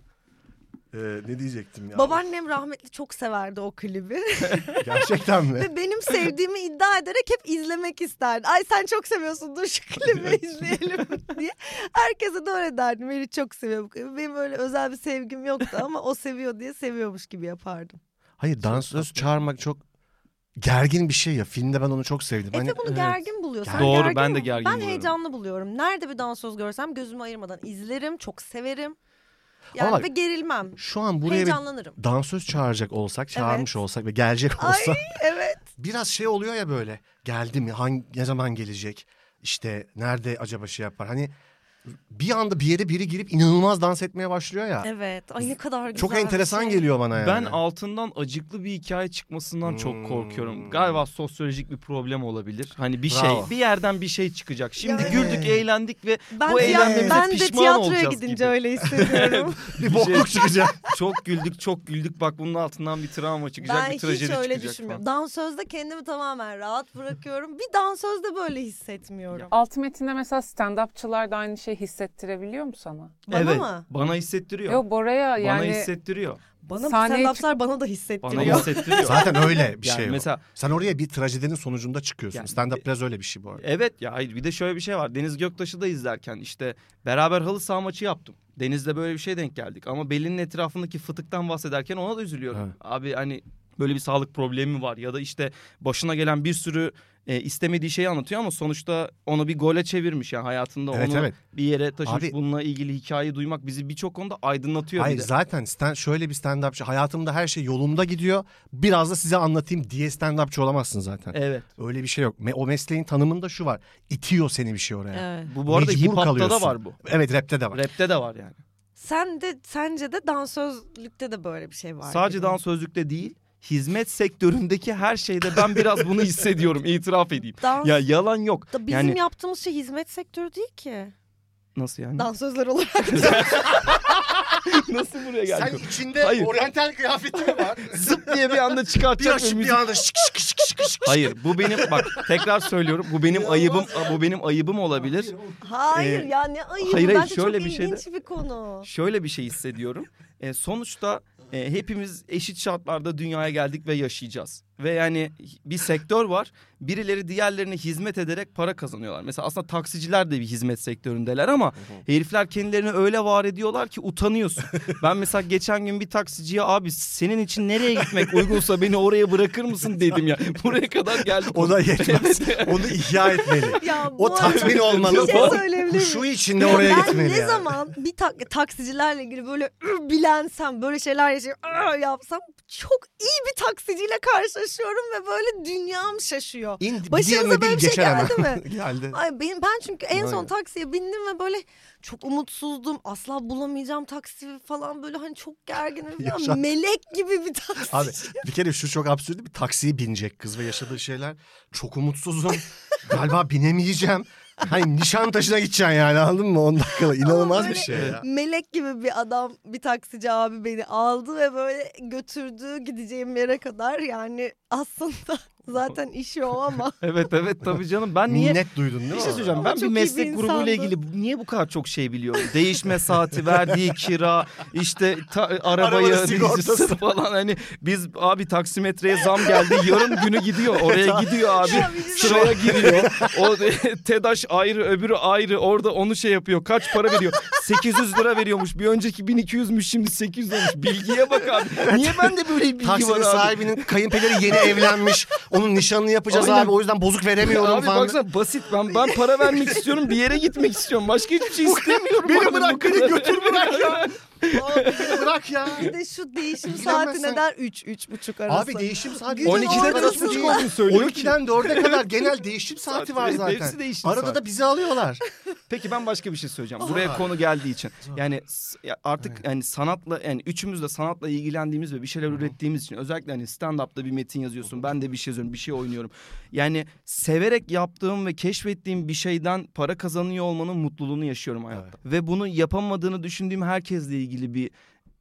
Speaker 4: Ee, ne diyecektim ya?
Speaker 1: Babaannem rahmetli çok severdi o klibi.
Speaker 4: Gerçekten mi?
Speaker 1: Ve benim sevdiğimi iddia ederek hep izlemek isterdi. Ay sen çok seviyorsun dur şu klibi izleyelim diye. Herkese de öyle derdim. Beni çok seviyor bu klibi. Benim öyle özel bir sevgim yoktu ama o seviyor diye seviyormuş gibi yapardım.
Speaker 4: Hayır dansöz çağırmak çok gergin bir şey ya. Filmde ben onu çok sevdim. Hani
Speaker 1: Efe bunu
Speaker 4: evet.
Speaker 1: gergin buluyor. Sen
Speaker 3: Doğru,
Speaker 1: gergin
Speaker 3: ben de
Speaker 1: mi?
Speaker 3: gergin
Speaker 1: Ben
Speaker 3: buluyorum.
Speaker 1: heyecanlı buluyorum. Nerede bir dansöz görsem gözümü ayırmadan izlerim. Çok severim.
Speaker 4: Ama
Speaker 1: Yani
Speaker 4: bak-
Speaker 1: ve gerilmem.
Speaker 4: Şu an buraya bir
Speaker 1: Heyecanlanırım.
Speaker 4: dansöz çağıracak olsak, çağırmış olsak ve gelecek
Speaker 1: Ay
Speaker 4: olsa
Speaker 1: evet.
Speaker 4: biraz şey oluyor ya böyle. Geldi mi? Hangi ne zaman gelecek? İşte nerede acaba şey yapar? Hani bir anda bir yere biri girip inanılmaz dans etmeye başlıyor ya.
Speaker 1: Evet. Ay ne kadar güzel.
Speaker 4: Çok
Speaker 1: bir
Speaker 4: enteresan
Speaker 1: şey.
Speaker 4: geliyor bana yani.
Speaker 3: Ben altından acıklı bir hikaye çıkmasından çok korkuyorum.
Speaker 4: Hmm.
Speaker 3: Galiba sosyolojik bir problem olabilir. Hani bir
Speaker 4: Bravo.
Speaker 3: şey, bir yerden bir şey çıkacak. Şimdi
Speaker 4: Yani-
Speaker 3: güldük, eğlendik ve
Speaker 1: Ben,
Speaker 3: Bu
Speaker 1: tiya-
Speaker 3: eğlenmemize
Speaker 1: ben de
Speaker 3: pişman
Speaker 1: tiyatroya
Speaker 3: olacağız
Speaker 1: gidince
Speaker 3: gibi.
Speaker 1: öyle hissediyorum.
Speaker 4: bir bokluk çıkacak.
Speaker 3: şey çok güldük, çok güldük. Bak bunun altından bir travma çıkacak,
Speaker 1: ben
Speaker 3: bir trajedi
Speaker 1: hiç öyle
Speaker 3: çıkacak.
Speaker 1: düşünmüyorum.
Speaker 3: falan.
Speaker 1: Dansözde kendimi tamamen rahat bırakıyorum. Bir dansözde böyle hissetmiyorum.
Speaker 5: Alt metinde mesela stand-upçılar da aynı şeyi hissettirebiliyor mu sana?
Speaker 1: Bana
Speaker 3: evet,
Speaker 1: mı?
Speaker 3: bana hissettiriyor.
Speaker 5: Yok Bora'ya
Speaker 3: bana
Speaker 5: yani
Speaker 3: hissettiriyor.
Speaker 1: Bana
Speaker 5: Sahneye
Speaker 1: sen laflar bana da hissettiriyor.
Speaker 3: Bana hissettiriyor.
Speaker 4: Zaten öyle bir
Speaker 3: Yani
Speaker 4: şey yok.
Speaker 3: mesela
Speaker 4: Sen oraya bir trajedinin sonucunda çıkıyorsun.
Speaker 3: Yani-
Speaker 4: Stand up biraz öyle bir şey bu arada.
Speaker 3: Evet ya hayır bir de şöyle bir şey var. Deniz Göktaş'ı da izlerken işte beraber halı saha maçı yaptım. Deniz'le böyle bir şey denk geldik ama belinin etrafındaki fıtıktan bahsederken ona da üzülüyorum.
Speaker 4: Evet.
Speaker 3: Abi hani böyle bir sağlık problemi var ya da işte başına gelen bir sürü e, istemediği şeyi anlatıyor ama sonuçta onu bir gole çevirmiş yani hayatında
Speaker 4: Evet
Speaker 3: onu
Speaker 4: evet.
Speaker 3: bir yere taşımış.
Speaker 4: Abi-
Speaker 3: Bununla ilgili hikayeyi duymak bizi birçok konuda aydınlatıyor
Speaker 4: Hayır
Speaker 3: bir de.
Speaker 4: zaten stand, şöyle bir stand upçı hayatımda her şey yolumda gidiyor. Biraz da size anlatayım diye stand upçı olamazsın zaten.
Speaker 3: Evet.
Speaker 4: Öyle bir şey yok. Me- o mesleğin tanımında şu var. İtiyor seni bir şey oraya. Evet,
Speaker 1: Evet.
Speaker 3: Bu, bu arada
Speaker 4: Mecbur
Speaker 3: hip hop'ta da
Speaker 4: kalıyorsun.
Speaker 3: var bu.
Speaker 4: rapte de var.
Speaker 3: Rap'te de var yani.
Speaker 1: Sen de sence de dansözlükte de böyle bir şey var.
Speaker 3: Sadece
Speaker 1: gibi.
Speaker 3: dansözlükte değil, hizmet sektöründeki her şeyde ben biraz bunu hissediyorum, itiraf edeyim.
Speaker 1: Dans
Speaker 3: Ya yalan yok.
Speaker 1: da bizim
Speaker 3: yani-
Speaker 1: yaptığımız şey hizmet sektörü değil ki.
Speaker 3: Nasıl yani?
Speaker 1: Dansözler olarak.
Speaker 3: Nasıl buraya geldik?
Speaker 4: içinde
Speaker 3: Hayır.
Speaker 4: oryantal kıyafeti mi var?
Speaker 3: Zıp diye bir anda çıkartacak ve müzik-
Speaker 4: anda şık şık şık şık şık.
Speaker 3: Hayır bu benim bak tekrar söylüyorum bu benim ayıbım bu benim ayıbım olabilir.
Speaker 1: hayır
Speaker 3: Ee,
Speaker 1: ya ne ayıp.
Speaker 3: hayır, hayır,
Speaker 1: Bence
Speaker 3: şöyle
Speaker 1: çok
Speaker 3: bir şey de-
Speaker 1: ilginç bir konu.
Speaker 3: Şöyle bir şey hissediyorum. E, sonuçta e, hepimiz eşit şartlarda dünyaya geldik ve yaşayacağız. Ve yani bir sektör var. Birileri diğerlerine hizmet ederek para kazanıyorlar. Mesela aslında taksiciler de bir hizmet sektöründeler ama herifler kendilerini öyle var ediyorlar ki utanıyorsun. ben mesela geçen gün bir taksiciye abi senin için nereye gitmek uygunsa beni oraya bırakır mısın dedim ya. Buraya kadar geldik.
Speaker 4: O da yetmez. Onu ihya etmeli.
Speaker 1: Ya bu
Speaker 4: O tatmin olmalı.
Speaker 1: Bir şey
Speaker 4: O
Speaker 1: söyleyebilir
Speaker 4: Şu
Speaker 1: miyim?
Speaker 4: içinde oraya
Speaker 1: ben
Speaker 4: gitmeli.
Speaker 1: ne
Speaker 4: yani.
Speaker 1: zaman bir tak- taksicilerle ilgili böyle "Ür, bilensem böyle şeyler yaşayıp "Ür" yapsam çok iyi bir taksiciyle karşılaşıyorum ve böyle dünyam şaşıyor.
Speaker 4: İn, bir
Speaker 1: Başınıza
Speaker 4: diğerine
Speaker 1: böyle
Speaker 4: değil,
Speaker 1: bir şey
Speaker 4: geçer hemen.
Speaker 1: geldi mi?
Speaker 4: geldi.
Speaker 1: Ay benim ben çünkü en son
Speaker 4: Aynen.
Speaker 1: taksiye bindim ve böyle çok umutsuzdum. Asla bulamayacağım taksi falan böyle hani çok gerginim falan.
Speaker 4: Yaşa.
Speaker 1: Melek gibi bir taksi.
Speaker 4: Abi bir kere şu çok absürt bir taksiye binecek kız ve yaşadığı şeyler. Çok umutsuzum. Galiba binemeyeceğim. Hani nişan taşına gideceksin yani anladın mı? 10 dakikada inanılmaz bir
Speaker 1: böyle-
Speaker 4: şey ya.
Speaker 1: Melek gibi bir adam bir taksici abi beni aldı ve böyle götürdü gideceğim yere kadar. Yani aslında zaten işi o ama.
Speaker 3: Evet evet tabii canım ben niye
Speaker 4: Minnet duydun değil mi?
Speaker 3: Bir şey söyleyeceğim.
Speaker 1: Ama
Speaker 3: Ben bir
Speaker 1: çok iyi
Speaker 3: meslek
Speaker 1: bir
Speaker 3: grubuyla
Speaker 1: insandı.
Speaker 3: ilgili bu- niye bu kadar çok şey biliyorum? Değişme saati, verdiği kira, işte ta, arabayı,
Speaker 4: Arabanın sigortası.
Speaker 3: dizisi falan. Hani biz abi taksimetreye zam geldi. Yarın günü gidiyor. Oraya gidiyor abi.
Speaker 1: Ya bizim-
Speaker 3: Sıraya giriyor. O TEDAŞ ayrı, öbürü ayrı. Orada onu şey yapıyor. Kaç para veriyor? 800 lira veriyormuş. Bir önceki 1200'müş şimdi 800 olmuş. Bilgiye bak abi. Niye bende böyle bir bilgi var
Speaker 4: Taksinin
Speaker 3: abi?
Speaker 4: sahibinin kayınpederi yeni evlenmiş. Onun nişanını yapacağız
Speaker 3: Aynen.
Speaker 4: abi. O yüzden bozuk veremiyorum
Speaker 3: Abi
Speaker 4: falan.
Speaker 3: baksana basit ben ben para vermek istiyorum bir yere gitmek istiyorum başka hiçbir şey istemiyorum.
Speaker 4: beni
Speaker 3: abi, bu
Speaker 4: bırak, beni
Speaker 3: kadar.
Speaker 4: götür bırak ya. Abi beni bırak ya.
Speaker 1: Bir de şu değişim
Speaker 4: Bilemezsen-
Speaker 1: saati neden 3-3,5 arası?
Speaker 4: Abi değişim saati.
Speaker 1: Gücün 12'den
Speaker 4: Arasında-
Speaker 1: dört buçuk
Speaker 3: olduğunu söylüyor
Speaker 4: 12'den 4'e kadar genel değişim saati var
Speaker 3: Hepsi
Speaker 4: zaten.
Speaker 3: değişti
Speaker 4: Arada
Speaker 3: saat.
Speaker 4: da bizi alıyorlar.
Speaker 3: Peki ben başka bir şey söyleyeceğim. Buraya konu geldiği için. Yani s- ya artık yani sanatla yani üçümüz de sanatla ilgilendiğimiz ve bir şeyler ürettiğimiz için özellikle hani stand up'ta bir metin yazıyorsun. Ben de bir şey yazıyorum, bir şey oynuyorum. Yani severek yaptığım ve keşfettiğim bir şeyden para kazanıyor olmanın mutluluğunu yaşıyorum hayatta. Ve bunu yapamadığını düşündüğüm herkesle ilgili bir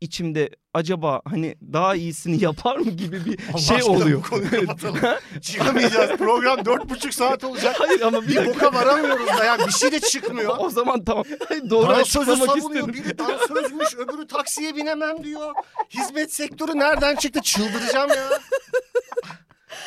Speaker 3: içimde acaba hani daha iyisini yapar mı gibi bir
Speaker 4: Allah
Speaker 3: şey
Speaker 4: aşkına bu
Speaker 3: oluyor.
Speaker 4: konuyu kapatalım. Çıkamayacağız. Program dört buçuk saat olacak.
Speaker 3: Hayır ama bir
Speaker 4: Bir boka varamıyoruz da yani bir şey de çıkmıyor.
Speaker 3: O zaman tamam. Doğru
Speaker 4: Dansözü
Speaker 3: açıklamak
Speaker 4: savunuyor.
Speaker 3: istedim.
Speaker 4: Biri dansözmüş, öbürü taksiye binemem diyor. Hizmet sektörü nereden çıktı? Çıldıracağım ya.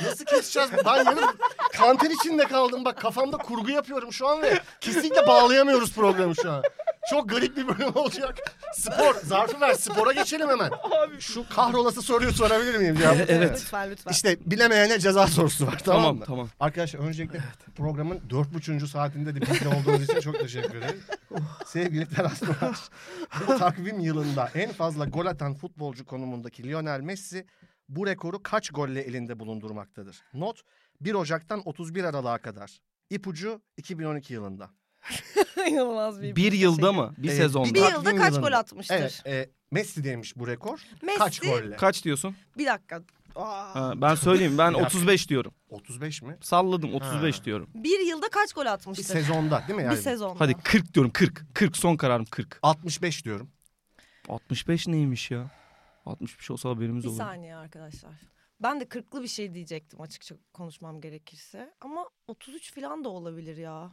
Speaker 4: Nasıl keseceğiz? Ben yarın kanter içinde kaldım. Bak kafamda kurgu yapıyorum şu an ve kesinlikle bağlayamıyoruz programı şu an. Çok garip bir bölüm olacak. Spor. Zarfı ver. Spora geçelim hemen. Şu kahrolası soruyu sorabilir miyim? Ya?
Speaker 3: E,
Speaker 9: Lütfen lütfen.
Speaker 4: İşte bilemeyene ceza sorusu var. Tamam,
Speaker 3: Tamam
Speaker 4: mı?
Speaker 3: tamam.
Speaker 4: Arkadaşlar öncelikle programın dört buçuğuncu saatinde de bizde olduğunuz için çok teşekkür ederim. Sevgili Teras Doğaç, bu takvim yılında en fazla gol atan futbolcu konumundaki Lionel Messi bu rekoru kaç golle elinde bulundurmaktadır? Not 1 Ocak'tan 31 Aralık'a kadar. İpucu 2012 yılında.
Speaker 9: İnanılmaz bir.
Speaker 3: Bir yılda mı? Bir
Speaker 4: Ee,
Speaker 3: sezonda.
Speaker 1: Bir yılda
Speaker 4: Takvim
Speaker 1: kaç
Speaker 4: yılında.
Speaker 1: gol atmıştır?
Speaker 4: Evet, e, Messi demiş bu rekor.
Speaker 1: Messi
Speaker 4: Kaç golle?
Speaker 3: Kaç diyorsun?
Speaker 1: bir dakika. Aa.
Speaker 3: Ha, ben söyleyeyim. Ben
Speaker 4: Bir dakika.
Speaker 3: 35 diyorum.
Speaker 4: 35 mi?
Speaker 3: Salladım 35
Speaker 4: Ha.
Speaker 3: diyorum.
Speaker 1: Bir yılda kaç gol
Speaker 4: Bir
Speaker 1: atmıştır?
Speaker 4: sezonda değil mi yani?
Speaker 1: Bir sezonda.
Speaker 3: Hadi 40 diyorum 40. 40 son kararım 40.
Speaker 4: 65 diyorum.
Speaker 3: 65 neymiş ya? 65 olsa haberimiz
Speaker 1: Bir
Speaker 3: olur.
Speaker 1: saniye arkadaşlar. Ben de kırklı bir şey diyecektim açıkça konuşmam gerekirse. Ama 33 falan da olabilir ya.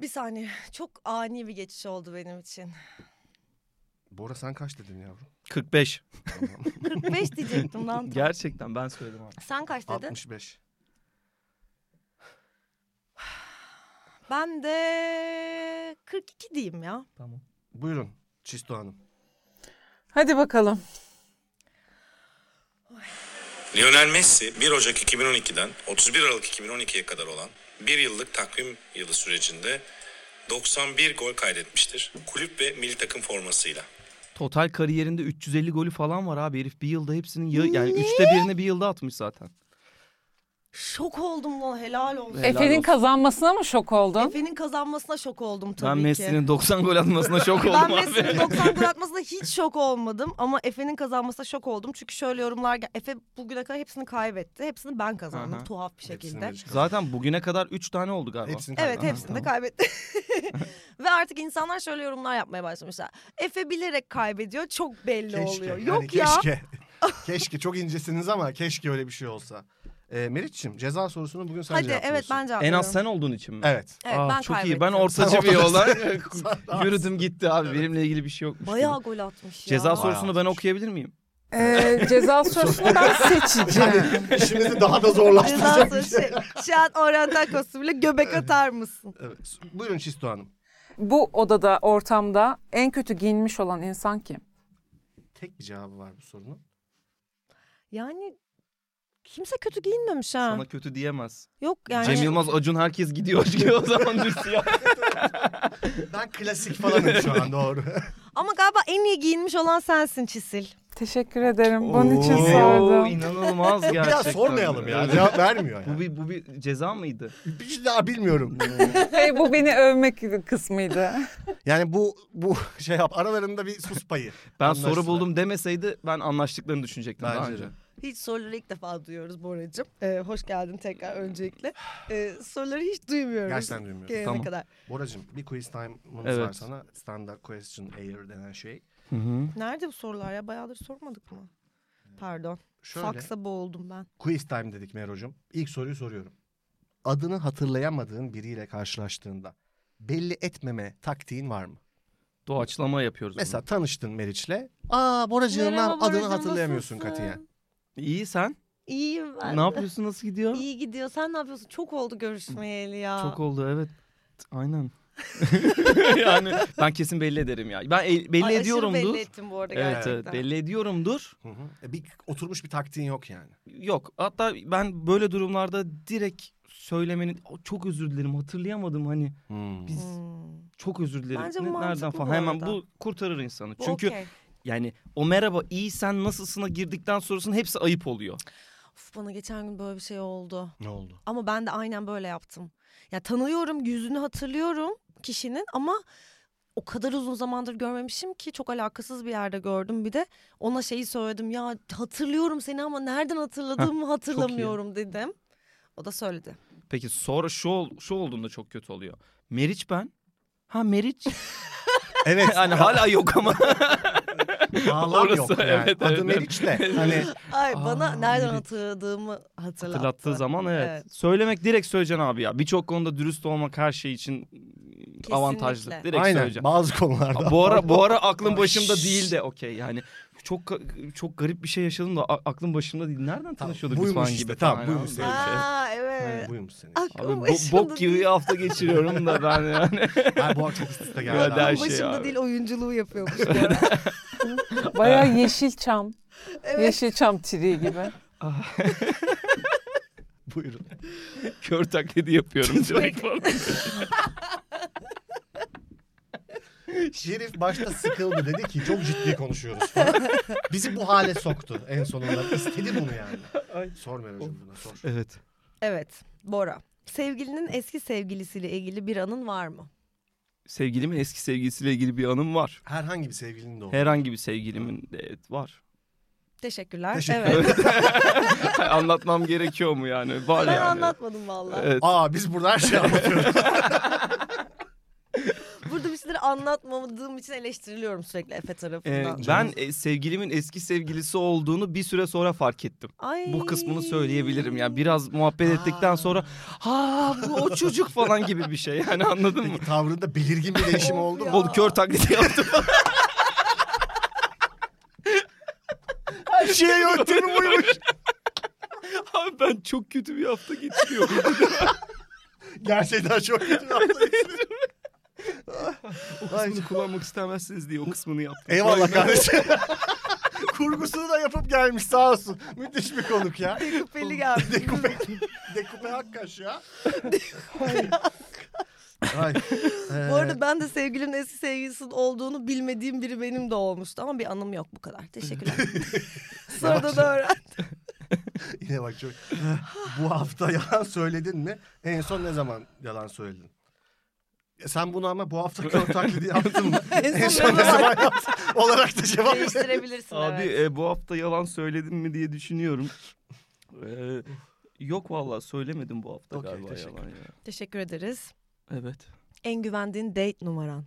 Speaker 1: Bir saniye. Çok ani bir geçiş oldu benim için.
Speaker 4: Bora sen kaç dedin yavrum?
Speaker 3: 45.
Speaker 1: 45 diyecektim lan.
Speaker 3: Gerçekten ben söyledim abi.
Speaker 1: Sen kaç dedin?
Speaker 4: 65.
Speaker 1: Ben de 42 diyeyim ya.
Speaker 3: Tamam.
Speaker 4: Buyurun Çisto Hanım.
Speaker 5: Hadi bakalım.
Speaker 10: Lionel Messi 1 Ocak 2012'den 31 Aralık 2012'ye kadar olan bir yıllık takvim yılı sürecinde 91 gol kaydetmiştir. Kulüp ve milli takım formasıyla.
Speaker 3: Total kariyerinde 350 golü falan var abi. Herif bir yılda hepsinin yı- yani üçte birini bir yılda atmış zaten.
Speaker 1: Şok oldum lan helal olsun.
Speaker 3: Helal
Speaker 5: Efe'nin
Speaker 3: olsun.
Speaker 5: kazanmasına mı şok oldun?
Speaker 1: Efe'nin kazanmasına şok oldum tabii
Speaker 3: Ben
Speaker 1: ki.
Speaker 3: Messi'nin 90 gol atmasına şok oldum
Speaker 1: Ben
Speaker 3: abi.
Speaker 1: Messi'nin 90 gol atmasına hiç şok olmadım ama Efe'nin kazanmasına şok oldum. Çünkü şöyle yorumlar gel- Efe bugüne kadar hepsini kaybetti. Hepsini ben kazandım
Speaker 3: Aha.
Speaker 1: tuhaf bir
Speaker 4: Hepsini
Speaker 1: şekilde.
Speaker 4: verin.
Speaker 3: Zaten bugüne kadar 3 tane oldu galiba.
Speaker 4: Hepsini
Speaker 1: Evet
Speaker 4: kazandın.
Speaker 1: hepsini de
Speaker 4: Tamam.
Speaker 1: kaybetti. Ve artık insanlar şöyle yorumlar yapmaya başlamışlar. Efe bilerek kaybediyor çok belli oluyor.
Speaker 4: yani
Speaker 1: Yok ya.
Speaker 4: Keşke. şey keşke çok incesiniz ama keşke öyle bir şey olsa. Ee, Meriç'ciğim ceza sorusunu bugün sen
Speaker 1: Hadi
Speaker 4: cevaplıyorsun.
Speaker 1: evet ben cevap
Speaker 3: En az
Speaker 1: veriyorum.
Speaker 3: sen olduğun için mi?
Speaker 4: Evet.
Speaker 1: Evet,
Speaker 3: Aa,
Speaker 1: ben
Speaker 3: Ah, çok iyi.
Speaker 1: kaybettim.
Speaker 3: Ben ortacı bir
Speaker 4: Sen
Speaker 3: yollar
Speaker 4: Sen-
Speaker 3: yürüdüm gitti abi. Benimle ilgili bir şey yokmuş.
Speaker 1: Bayağı
Speaker 3: Bayağı
Speaker 1: gol atmış ya.
Speaker 3: Ceza sorusunu ben
Speaker 4: atmış.
Speaker 3: okuyabilir miyim?
Speaker 5: Ee, ceza sorusunu ben seçeceğim.
Speaker 4: İşimizi daha da
Speaker 1: Ceza
Speaker 4: zorlaştıracak bir
Speaker 1: sorusu.
Speaker 4: şey.
Speaker 1: Şey, şu an oryantal kostümüyle göbek atar mısın?
Speaker 4: Evet. Buyurun Çisto Hanım.
Speaker 5: Bu odada, ortamda en kötü giyinmiş olan insan kim?
Speaker 4: Tek bir cevabı var bu sorunun.
Speaker 1: Yani kimse kötü giyinmemiş ha.
Speaker 3: Sana kötü diyemez.
Speaker 1: Yok yani.
Speaker 3: Cem Yılmaz, Acun herkes gidiyor. Gidiyor o zaman düz siyah.
Speaker 4: Ben klasik falanım şu an doğru.
Speaker 1: Ama galiba en iyi giyinmiş olan sensin Çisil.
Speaker 5: Teşekkür ederim. Bunun için
Speaker 3: Oo,
Speaker 5: sordum.
Speaker 3: İnanılmaz gerçekten.
Speaker 4: Biraz sormayalım ya.
Speaker 3: Evet.
Speaker 4: Cevap vermiyor
Speaker 3: Bu
Speaker 4: yani.
Speaker 3: bir, bu bir ceza mıydı?
Speaker 4: Bir şey daha bilmiyorum.
Speaker 5: Hey, bu beni övmek kısmıydı.
Speaker 4: Yani bu bu şey yap aralarında bir sus payı.
Speaker 3: Ben
Speaker 4: Anlaştılar.
Speaker 3: soru buldum demeseydi ben anlaştıklarını düşünecektim daha
Speaker 4: Bence
Speaker 3: önce.
Speaker 4: de.
Speaker 1: Hiç soruları ilk defa duyuyoruz Boracığım. Ee, hoş geldin tekrar öncelikle. Ee, soruları hiç duymuyoruz.
Speaker 4: Gerçekten duymuyorum.
Speaker 1: Gelene
Speaker 3: Tamam.
Speaker 1: kadar.
Speaker 4: Boracığım bir quiz time'ımız var
Speaker 3: Evet.
Speaker 4: sana. Standard question air denen şey.
Speaker 1: Nerede bu sorular ya? Bayağıdır sormadık mı? Pardon.
Speaker 4: Şöyle.
Speaker 1: Faksa boğuldum ben.
Speaker 4: Quiz time dedik Mero'cum. İlk soruyu soruyorum. Adını hatırlayamadığın biriyle karşılaştığında belli etmeme taktiğin var mı?
Speaker 3: Doğaçlama yapıyoruz. bunu.
Speaker 4: Mesela tanıştın Meriç'le. Aa Boracığım
Speaker 1: Merhaba
Speaker 4: lan," adını
Speaker 1: Boracığım,
Speaker 4: hatırlayamıyorsun
Speaker 1: nasılsın?
Speaker 4: katiyen.
Speaker 3: İyi sen?
Speaker 1: İyiyim ben.
Speaker 3: Ne yapıyorsun? Nasıl gidiyor?
Speaker 1: İyi gidiyor. Sen ne yapıyorsun? Çok oldu görüşmeyeli ya.
Speaker 3: Çok oldu evet. Aynen. yani ben kesin belli ederim ya. Ben el- belli
Speaker 1: Ay, aşırı
Speaker 3: ediyorumdur.
Speaker 1: belli ettim bu arada
Speaker 3: evet, evet
Speaker 1: gerçekten.
Speaker 3: belli ediyorumdur.
Speaker 4: Hı hı. E, bir oturmuş bir taktiğin yok yani.
Speaker 3: Yok. Hatta ben böyle durumlarda direkt söylemenin "O, çok özür dilerim hatırlayamadım hani biz
Speaker 1: Hmm.
Speaker 3: çok özür dilerim.
Speaker 1: Bence bu
Speaker 3: Ne- nereden
Speaker 1: mantıklı
Speaker 3: falan
Speaker 1: bu
Speaker 3: hemen
Speaker 1: arada.
Speaker 3: bu kurtarır insanı.
Speaker 1: Bu
Speaker 3: Çünkü
Speaker 1: okey.
Speaker 3: yani o merhaba iyi sen nasılsına girdikten sonrasının hepsi ayıp oluyor.
Speaker 1: Of, bana geçen gün böyle bir şey oldu.
Speaker 4: Ne oldu?
Speaker 1: Ama ben de aynen böyle yaptım. Ya tanıyorum, yüzünü hatırlıyorum kişinin ama o kadar uzun zamandır görmemişim ki çok alakasız bir yerde gördüm. Bir de ona şeyi söyledim. Ya hatırlıyorum seni ama nereden hatırladığımı hatırlamıyorum dedim. O da söyledi.
Speaker 3: Peki sonra şu ol- şu olduğunda çok kötü oluyor. Meriç ben. Ha Meriç.
Speaker 4: Evet.
Speaker 3: yani hala yok ama.
Speaker 4: Bağlam yok
Speaker 3: Hani Orası,
Speaker 4: yani.
Speaker 3: evet,
Speaker 4: Adı
Speaker 3: evet.
Speaker 4: Meriç de. Hani
Speaker 1: Ay
Speaker 3: Aa,
Speaker 1: bana nereden
Speaker 3: Meriç.
Speaker 1: hatırladığımı hatırlattı.
Speaker 3: Hatırlattığı zaman evet. Söylemek direkt söyleyeceksin abi ya. Birçok konuda dürüst olmak her şey için avantajlı. Direkt
Speaker 4: aynen
Speaker 3: söyleyeceksin.
Speaker 4: bazı konularda.
Speaker 3: Bu ara bu ara aklım başımda değil de okey yani çok ka- çok garip bir şey yaşadım da a- aklım başımda değil. Nereden tanışıyorduk biz
Speaker 4: buymuş
Speaker 3: falan
Speaker 4: işte,
Speaker 3: gibi.
Speaker 4: tamam,
Speaker 3: falan.
Speaker 4: buymuş
Speaker 3: Abi,
Speaker 4: sevgili.
Speaker 1: Aa evet.
Speaker 4: Ha, buymuş senin.
Speaker 3: şey. Abi
Speaker 1: Aklım
Speaker 3: bo-
Speaker 1: başımda
Speaker 3: bok gibi bir
Speaker 1: değil.
Speaker 3: hafta geçiriyorum da ben yani.
Speaker 4: Ay bu çok üst üste geldi.
Speaker 3: Gönder
Speaker 4: abi.
Speaker 3: her
Speaker 1: Aklım
Speaker 3: şey
Speaker 1: başımda
Speaker 3: abi.
Speaker 1: değil oyunculuğu yapıyormuş.
Speaker 5: Bayağı Yeşilçam.
Speaker 1: Evet.
Speaker 5: Yeşilçam triği gibi.
Speaker 4: Buyurun.
Speaker 3: Kör taklidi yapıyorum direkt falan.
Speaker 4: Şerif başta sıkıldı dedi ki çok ciddi konuşuyoruz. Bizi bu hale soktu en sonunda. İstedi bunu yani. Sor Meral'cığım bunu sor.
Speaker 3: Evet.
Speaker 1: evet Bora. Sevgilinin eski sevgilisiyle ilgili bir anın var mı?
Speaker 3: Sevgilimin eski sevgilisiyle ilgili bir anım var.
Speaker 4: Herhangi bir sevgilinin de olur.
Speaker 3: Herhangi bir sevgilimin evet, var.
Speaker 1: Teşekkürler.
Speaker 4: Teşekkür
Speaker 1: evet.
Speaker 3: Anlatmam gerekiyor mu yani? Var
Speaker 1: Ben
Speaker 3: yani.
Speaker 1: anlatmadım vallahi.
Speaker 3: Evet.
Speaker 4: Aa biz burada her şeyi anlatıyoruz.
Speaker 1: Burada bir şeyleri anlatmadığım için eleştiriliyorum sürekli Efe
Speaker 3: Ee,
Speaker 1: tarafından.
Speaker 3: ben e, sevgilimin eski sevgilisi olduğunu bir süre sonra fark ettim.
Speaker 1: Ay.
Speaker 3: Bu kısmını söyleyebilirim yani biraz muhabbet ettikten sonra ha bu o çocuk falan gibi bir şey yani anladın mı?
Speaker 4: Peki tavrında belirgin bir değişim oldu mu?
Speaker 3: Bol kör taklidi yaptım.
Speaker 4: Her şeye yöntemi Şey, buymuş.
Speaker 3: Abi ben çok kötü bir hafta geçiriyorum.
Speaker 4: Gerçekten çok kötü bir hafta geçirdim.
Speaker 3: o kısmını kullanmak istemezsiniz diye o kısmını yaptım.
Speaker 4: Eyvallah kardeşim. Kurgusunu da yapıp gelmiş sağ olsun. Müthiş bir konuk ya.
Speaker 1: Kupeli geldi.
Speaker 4: Dekupe, dekupe hakkaş ya. Ay.
Speaker 1: Bu arada ben de sevgilimin eski sevgilisinin olduğunu bilmediğim biri benim de olmuştu ama bir anım yok bu kadar. Teşekkürler. Sonra da da öğren.
Speaker 4: Ee, yine bak çok. Bu hafta yalan söyledin mi? En son ne zaman yalan söyledin? E, Sen bunu ama bu hafta kör taklidi yaptın mı? en son ne zaman yaptın? Olarak da cevap ver.
Speaker 1: Değiştirebilirsin
Speaker 3: Abi
Speaker 1: evet.
Speaker 3: e, bu hafta yalan söyledim mi diye düşünüyorum. Ee, yok vallahi söylemedim bu hafta
Speaker 4: Okey,
Speaker 3: galiba
Speaker 4: teşekkür
Speaker 3: yalan ya.
Speaker 1: Teşekkür ederiz.
Speaker 3: Evet.
Speaker 1: En güvendiğin date numaran.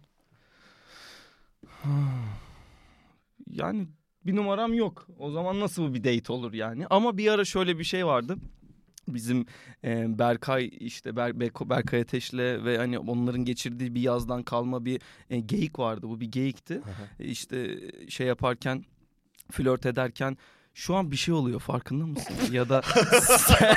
Speaker 3: Yani bir numaram yok. O zaman nasıl bir date olur yani? Ama bir ara şöyle bir şey vardı. Bizim e, Berkay işte Ber, Beko- Berkay Ateş'le ve hani onların geçirdiği bir yazdan kalma bir e, geyik vardı. Bu bir geyikti. E, İşte şey yaparken flört ederken şu an bir şey oluyor farkında mısın? ya da sen,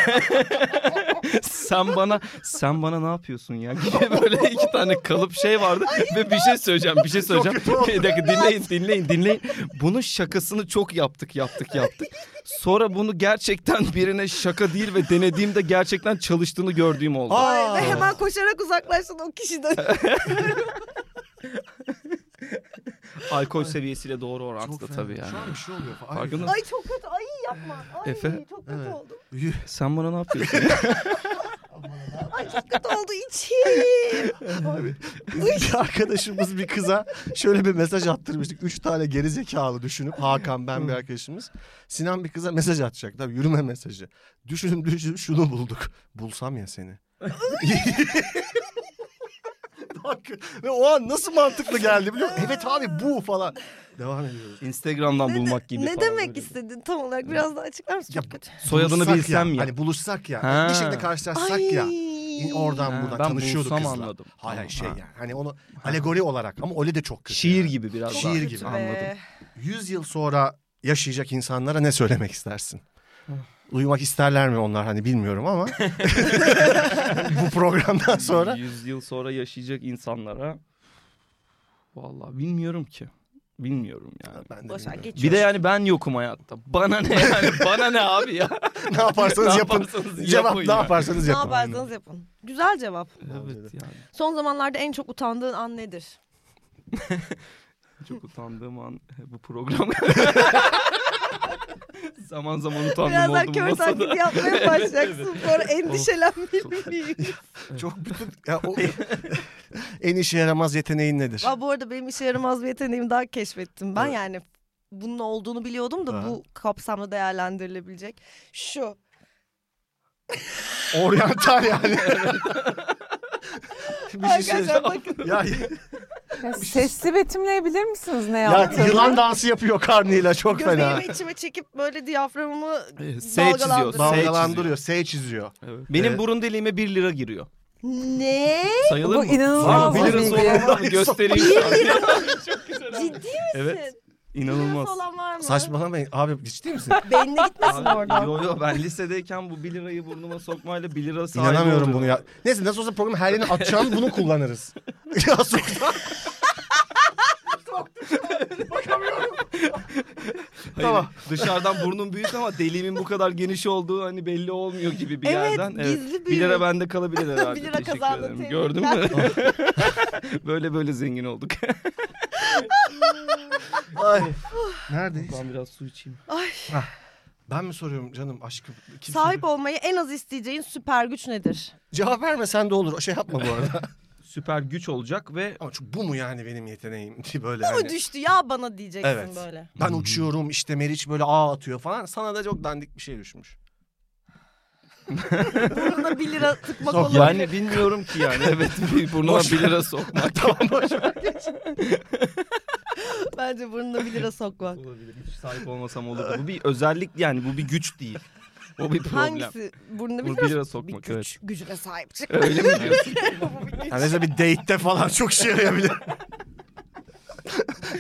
Speaker 3: sen bana sen bana ne yapıyorsun ya? Gibi böyle iki tane kalıp şey vardı ve bir şey söyleyeceğim. Bir şey söyleyeceğim. bir dakika dinleyin dinleyin dinleyin. Bunun şakasını çok yaptık yaptık yaptık. Sonra bunu gerçekten birine şaka değil ve denediğimde gerçekten çalıştığını gördüğüm oldu.
Speaker 1: Ay, ve hemen koşarak uzaklaştın o kişiden.
Speaker 3: Alkol seviyesiyle doğru orantıda
Speaker 4: Çok fena.
Speaker 3: tabii yani.
Speaker 4: Şu an bir şey oluyor. Ay.
Speaker 3: Farkında mısın?
Speaker 1: Ay çok kötü. Ay yapma. Ay
Speaker 3: Efe?
Speaker 1: çok kötü
Speaker 4: Evet.
Speaker 1: oldu.
Speaker 4: Yuh.
Speaker 3: Sen bana ne yapıyorsun?
Speaker 1: Ay çok kötü oldu içim.
Speaker 4: Abi, bir arkadaşımız bir kıza şöyle bir mesaj attırmıştık. Üç tane geri zekalı düşünüp Hakan ben bir arkadaşımız. Sinan bir kıza mesaj atacak. Tabii yürüme mesajı. Düşünüp düşünüp şunu bulduk. Bulsam ya seni. Bak, Ve o an nasıl mantıklı geldi biliyor musun? Evet abi bu falan. Devam ediyoruz.
Speaker 3: Instagram'dan bulmak gibi
Speaker 1: ne
Speaker 3: falan.
Speaker 1: demek istedin tam olarak? Biraz daha açıklar mısın?
Speaker 4: Ya,
Speaker 1: Çok kötü.
Speaker 3: Soyadını
Speaker 4: Buluşsak
Speaker 3: bilsem
Speaker 4: ya.
Speaker 3: ya.
Speaker 4: Hani buluşsak ya.
Speaker 3: Ha.
Speaker 4: Bir şekilde karşılaşsak ya. İn- Oradan
Speaker 3: Ha,
Speaker 4: buradan
Speaker 3: ben
Speaker 4: tanışıyorduk
Speaker 3: bulsam
Speaker 4: kızla.
Speaker 3: anladım.
Speaker 4: Hayır hayır, şey
Speaker 3: Tamam,
Speaker 4: yani. Hani onu alegori olarak ama öyle de çok kötü.
Speaker 3: Şiir
Speaker 4: yani.
Speaker 3: gibi biraz
Speaker 4: Çok
Speaker 3: daha.
Speaker 4: Şiir
Speaker 1: Kötü
Speaker 4: gibi.
Speaker 1: be.
Speaker 3: Anladım.
Speaker 4: 100 yıl sonra yaşayacak insanlara ne söylemek istersin? Uyumak isterler mi onlar hani bilmiyorum ama bu programdan sonra
Speaker 3: 100 yıl sonra yaşayacak insanlara vallahi bilmiyorum ki. Bilmiyorum yani.
Speaker 4: ben de
Speaker 1: Boş ver
Speaker 4: bilmiyorum.
Speaker 1: geç.
Speaker 3: Bir de yani ben yokum hayatta. Bana ne yani? Bana ne abi ya?
Speaker 4: ne yaparsanız
Speaker 3: Ne
Speaker 4: yapın.
Speaker 3: yaparsanız
Speaker 4: Cevap
Speaker 3: yapın
Speaker 4: ne
Speaker 3: ya.
Speaker 4: yaparsanız
Speaker 1: Ne
Speaker 4: yapın.
Speaker 1: yaparsanız yapın. Güzel cevap.
Speaker 3: Evet yani.
Speaker 1: Son zamanlarda en çok utandığın an nedir?
Speaker 3: Çok utandığım an e, bu program. zaman zaman utandım
Speaker 1: Birazdan
Speaker 3: oldum
Speaker 1: kör
Speaker 3: masada.
Speaker 1: taklidi yapmaya başlayacaksın. Sonra endişelenmemeliyim.
Speaker 4: Çok bütün ya o en işe yaramaz yeteneğin nedir?
Speaker 1: Aa, bu arada benim işe yaramaz bir yeteneğimi daha keşfettim. Ben
Speaker 4: Evet.
Speaker 1: yani bunun olduğunu biliyordum da
Speaker 4: Aha.
Speaker 1: bu kapsamda değerlendirilebilecek. Şu.
Speaker 4: Oryantal yani. Bir şey
Speaker 1: Arkadaşlar
Speaker 4: söyleyeceğim.
Speaker 1: bakın.
Speaker 4: Ya,
Speaker 5: Ya sesli betimleyebilir misiniz ne
Speaker 4: ya
Speaker 5: yaptığını?
Speaker 4: yılan dansı yapıyor karnıyla çok fena. E,
Speaker 1: Göbeğimi içime çekip böyle diyaframımı
Speaker 3: Evet, S
Speaker 1: dalgalandırıyorum.
Speaker 3: çiziyor, S-
Speaker 4: Dalgalandırıyor, S çiziyor.
Speaker 3: Evet. Ee, Benim
Speaker 4: Evet.
Speaker 3: burun deliğime 1 lira giriyor.
Speaker 1: Ne?
Speaker 3: Sayılır
Speaker 5: Bu
Speaker 3: mı?
Speaker 5: inanılmaz
Speaker 3: Var mı? 1
Speaker 5: bir
Speaker 3: lira
Speaker 5: bilgi.
Speaker 3: sonra göstereyim.
Speaker 1: Ciddi
Speaker 3: Evet. İnanılmaz.
Speaker 7: Olan var mı?
Speaker 4: Saçmalamayın. Abi ciddi misin?
Speaker 1: Beynine gitmesin
Speaker 3: Abi,
Speaker 1: oradan.
Speaker 3: yo yo ben lisedeyken bu 1 lirayı burnuma sokmayla 1 lira sahibi
Speaker 4: İnanamıyorum
Speaker 3: oluyorum.
Speaker 4: bunu ya. Neyse nasıl olsa programı her yerine atacağım bunu kullanırız. ya sokta.
Speaker 3: Hayır,
Speaker 4: Tamam.
Speaker 3: Dışarıdan burnum büyük ama deliğimin bu kadar geniş olduğu hani belli olmuyor gibi bir
Speaker 1: Evet,
Speaker 3: yerden.
Speaker 1: gizli
Speaker 3: 1 lira
Speaker 1: büyük.
Speaker 3: bende kalabilir herhalde.
Speaker 1: Bir lira
Speaker 3: Teşekkür
Speaker 1: kazandım,
Speaker 3: ederim.
Speaker 1: tebrikler.
Speaker 3: Gördün mü? böyle böyle zengin olduk.
Speaker 4: Ay. Neredeyiz?
Speaker 3: ben biraz su içeyim.
Speaker 4: Ben mi soruyorum canım aşkım? Kim
Speaker 1: Sahip
Speaker 4: soruyor?
Speaker 1: olmayı en az isteyeceğin süper güç nedir?
Speaker 4: Cevap verme sen de olur. Şey yapma bu arada.
Speaker 3: Süper güç olacak ve
Speaker 4: Ama çünkü bu mu yani benim yeteneğim diye böyle.
Speaker 1: Bu mu
Speaker 4: yani.
Speaker 1: düştü ya bana diyeceksin
Speaker 4: Evet.
Speaker 1: böyle.
Speaker 4: Ben uçuyorum işte Meriç böyle ağ atıyor falan. Sana da çok dandik bir şey düşmüş.
Speaker 1: Burnuna 1 lira tıkmak
Speaker 4: Sok
Speaker 1: olur.
Speaker 3: yani bilmiyorum ki yani. Evet bir burnuma
Speaker 4: Boş
Speaker 3: 1 lira sokmak.
Speaker 1: Bence burnuna 1 lira sokmak.
Speaker 3: Olabilir. Hiç sahip olmasam olurdu. Bu bir özellik yani bu bir güç değil. O bir problem.
Speaker 1: Hangisi? Burnuna 1
Speaker 3: Bu
Speaker 1: lira,
Speaker 3: 1 lira
Speaker 1: bir
Speaker 3: sokmak
Speaker 1: güç.
Speaker 3: evet.
Speaker 1: Gücüne sahip çık.
Speaker 3: Öyle mi diyorsun?
Speaker 4: Yani mesela bir date'te falan çok şey yarayabilir.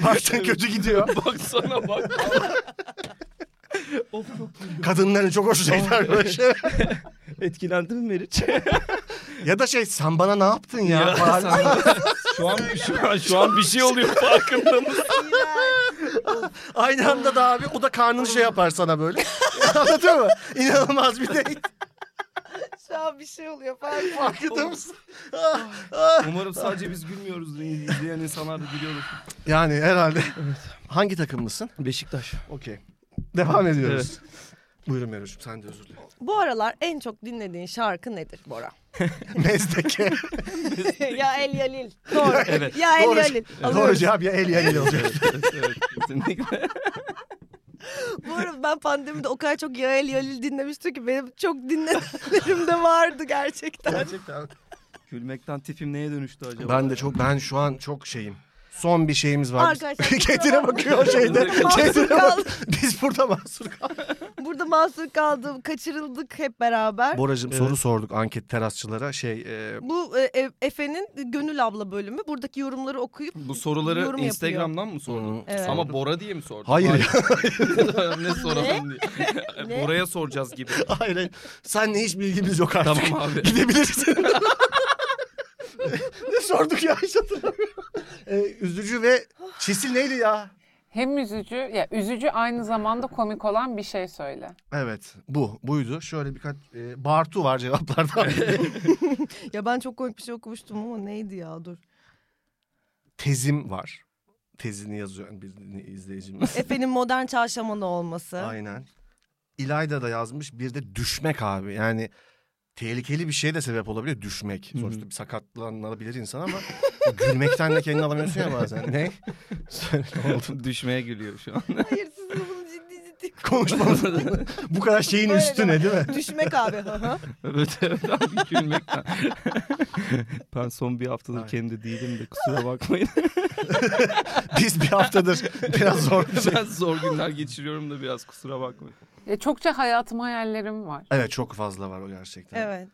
Speaker 4: Baştan kötü gidiyor.
Speaker 3: Baksana bak. of çok
Speaker 4: Kadınların çok hoş şeyler böyle şey.
Speaker 3: etkilendin mi Meriç?
Speaker 4: Ya da şey sen bana ne yaptın ya?
Speaker 3: Ya
Speaker 4: falan.
Speaker 3: şu an şu an şu an bir şey oluyor farkında mısın?
Speaker 4: Aynı anda da abi o da karnını şey yapar sana böyle. Anlatıyor mu? İnanılmaz bir date.
Speaker 1: Şu an bir şey oluyor. Fark
Speaker 4: Farkında mısın?
Speaker 3: Umarım sadece biz gülmüyoruz. İzleyen insanlar da gülüyoruz.
Speaker 4: Yani herhalde. Hangi takımlısın?
Speaker 3: Beşiktaş.
Speaker 4: Okey. Devam ediyoruz. Buyurun Meroş'um sen de özür dilerim.
Speaker 1: Bu aralar en çok dinlediğin şarkı nedir Bora?
Speaker 4: Mezdeke.
Speaker 1: ya El Yalil. Doğru.
Speaker 3: Evet.
Speaker 1: Ya El
Speaker 4: Doğru.
Speaker 1: Yalil.
Speaker 4: Doğru cevap ya el ya el olacak.
Speaker 3: evet, kesinlikle.
Speaker 1: Bu arada ben pandemide o kadar çok Ya El Yalil dinlemiştim ki benim çok dinleyenlerimde vardı gerçekten.
Speaker 4: Gerçekten.
Speaker 3: Gülmekten tipim neye dönüştü acaba?
Speaker 4: Ben de çok ben şu an çok şeyim. Son bir şeyimiz var.
Speaker 1: Arkadaşlar,
Speaker 4: Biz-
Speaker 1: kusura
Speaker 4: Kendine
Speaker 1: bakmayın.
Speaker 4: bakıyor şeyde.
Speaker 1: Mahsur
Speaker 4: Kendine bak.
Speaker 1: kaldım.
Speaker 4: Biz burada mahsur kaldık.
Speaker 1: Burada mahsur kaldım. Kaçırıldık hep beraber.
Speaker 4: Boracığım soru sorduk anket terasçılara. Şey e,
Speaker 1: Bu e, e, Efe'nin Gönül Abla bölümü. Buradaki yorumları okuyup
Speaker 3: Bu soruları
Speaker 1: yorum yapıyor.
Speaker 3: Instagram'dan mı sordun?
Speaker 1: Evet.
Speaker 3: Ama Bora diye mi sordun?
Speaker 4: Hayır ya.
Speaker 3: ne soralım diye.
Speaker 1: Ne?
Speaker 3: Bora'ya soracağız gibi.
Speaker 4: Hayır hayır. Senle hiç bilgimiz yok artık.
Speaker 3: Tamam abi.
Speaker 4: Gidebilirsin. ne sorduk ya hiç hatırlamıyorum. Ee, üzücü ve çisil neydi ya?
Speaker 5: Hem üzücü, ya üzücü aynı zamanda komik olan bir şey söyle.
Speaker 4: Evet bu buydu. Şöyle birkaç e, Bartu var cevaplardan.
Speaker 1: Ya ben çok komik bir şey okumuştum ama neydi ya dur.
Speaker 4: Tezim var. Tezini yazıyor yani bir izleyicimiz.
Speaker 1: Efe'nin modern çarşamanı olması.
Speaker 4: Aynen. İlayda da yazmış bir de düşmek abi. Yani tehlikeli bir şeye de sebep olabilir düşmek. Sonuçta bir sakatlanabilir insan ama gülmekten de kendini alamıyorsun ya bazen. Ne? Söyle ne oldu?
Speaker 3: Düşmeye gülüyor şu an.
Speaker 1: Hayır siz bunu ciddi ciddi
Speaker 4: Konuşmamız bu kadar şeyin
Speaker 1: Böyle
Speaker 4: üstüne değil mi?
Speaker 1: düşmek abi. Hı hı.
Speaker 3: Evet evet abi gülmekten. ben son bir haftadır kendi değilim de kusura bakmayın.
Speaker 4: Biz bir haftadır biraz zor bir şey.
Speaker 3: ben zor günler geçiriyorum da biraz kusura bakmayın.
Speaker 5: Ya çokça hayatım hayallerim var.
Speaker 4: Evet çok fazla var o gerçekten.
Speaker 1: evet.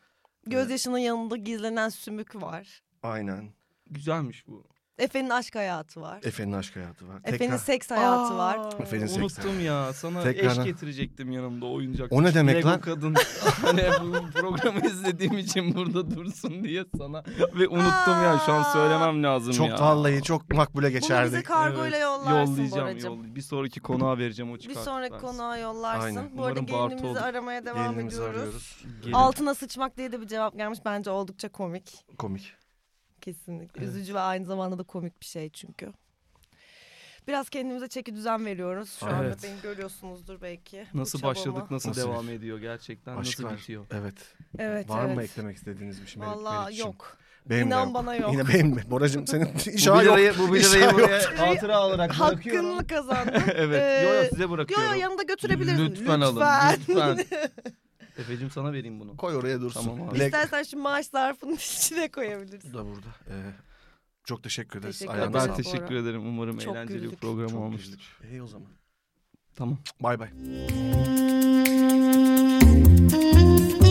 Speaker 1: Gözyaşının yanında gizlenen sümük var.
Speaker 4: Aynen.
Speaker 3: Güzelmiş bu.
Speaker 1: Efe'nin aşk hayatı var.
Speaker 4: Efe'nin aşk hayatı var.
Speaker 1: Efe'nin
Speaker 4: Tekrar-
Speaker 1: seks hayatı var.
Speaker 4: Efe'nin seks
Speaker 3: Unuttum ya sana
Speaker 4: Tekrardan.
Speaker 3: eş getirecektim yanımda oyuncak.
Speaker 4: O ne demek
Speaker 3: Lego
Speaker 4: lan?
Speaker 3: kadın. hani bu programı izlediğim için burada dursun diye sana. Ve unuttum ya şu an söylemem lazım
Speaker 4: Çok
Speaker 3: ya.
Speaker 4: vallahi çok makbule
Speaker 1: Bunu bize
Speaker 4: geçerdi.
Speaker 1: kargoyla
Speaker 3: Evet,
Speaker 1: yollarsın
Speaker 3: Yollayacağım
Speaker 1: Boracığım.
Speaker 3: yollay- Bir sonraki konuğa vereceğim o
Speaker 1: Bir
Speaker 3: çıkar.
Speaker 1: sonraki
Speaker 3: Ben-
Speaker 1: konuğa yollarsın.
Speaker 4: Aynen.
Speaker 1: Bu arada
Speaker 3: Umarım Bartu
Speaker 1: gelinimizi
Speaker 3: olur.
Speaker 1: aramaya devam
Speaker 4: Gelinimizi
Speaker 1: ediyoruz.
Speaker 4: arıyoruz.
Speaker 3: Gelin.
Speaker 1: Altına sıçmak diye de bir cevap gelmiş. Bence oldukça komik.
Speaker 4: Komik.
Speaker 1: Kesinlikle. Üzücü ve aynı zamanda da komik bir şey çünkü. Biraz kendimize çeki düzen veriyoruz. Şu
Speaker 3: Evet.
Speaker 1: anda beni görüyorsunuzdur belki. bu
Speaker 3: Nasıl
Speaker 1: çabamı.
Speaker 3: başladık, nasıl,
Speaker 4: Nasıl
Speaker 3: devam ediyor gerçekten,
Speaker 4: Aşk
Speaker 3: nasıl
Speaker 4: var.
Speaker 3: bitiyor?
Speaker 4: Evet.
Speaker 1: Evet,
Speaker 4: var
Speaker 1: evet.
Speaker 4: mı eklemek istediğiniz bir şey? Melik-
Speaker 1: Valla
Speaker 4: Melikçiğim?
Speaker 1: yok.
Speaker 4: Benim de
Speaker 1: İnan bana yok.
Speaker 4: Yine benim mi? Boracığım senin
Speaker 3: Bu bir
Speaker 4: inşallah şey yok.
Speaker 3: lirayı, bu bir
Speaker 4: İnşallah
Speaker 3: lirayı
Speaker 4: yok.
Speaker 3: buraya hatıra olarak bırakıyorum.
Speaker 1: Hakkını kazandın.
Speaker 3: Evet. Yo yo size
Speaker 1: Yo
Speaker 3: bırakıyorum.
Speaker 1: yo yanında götürebilirsin.
Speaker 3: Lütfen alın. Lütfen. Efe'cim sana vereyim bunu.
Speaker 4: Koy oraya dursun.
Speaker 3: Tamam abi.
Speaker 4: Lek-
Speaker 1: İstersen şu maaş zarfının içine koyabilirsin.
Speaker 4: Bu da burada. Ee, çok teşekkür ederiz.
Speaker 1: Teşekkür
Speaker 4: Ayağınıza
Speaker 1: ederim.
Speaker 3: Ben
Speaker 1: Bora.
Speaker 4: sağlık.
Speaker 3: teşekkür ederim. Umarım
Speaker 1: Çok
Speaker 3: eğlenceli bir
Speaker 1: güldük,
Speaker 3: program
Speaker 4: Çok
Speaker 3: olmuştur.
Speaker 4: güldük. İyi o zaman.
Speaker 3: Tamam.
Speaker 4: Bay bay.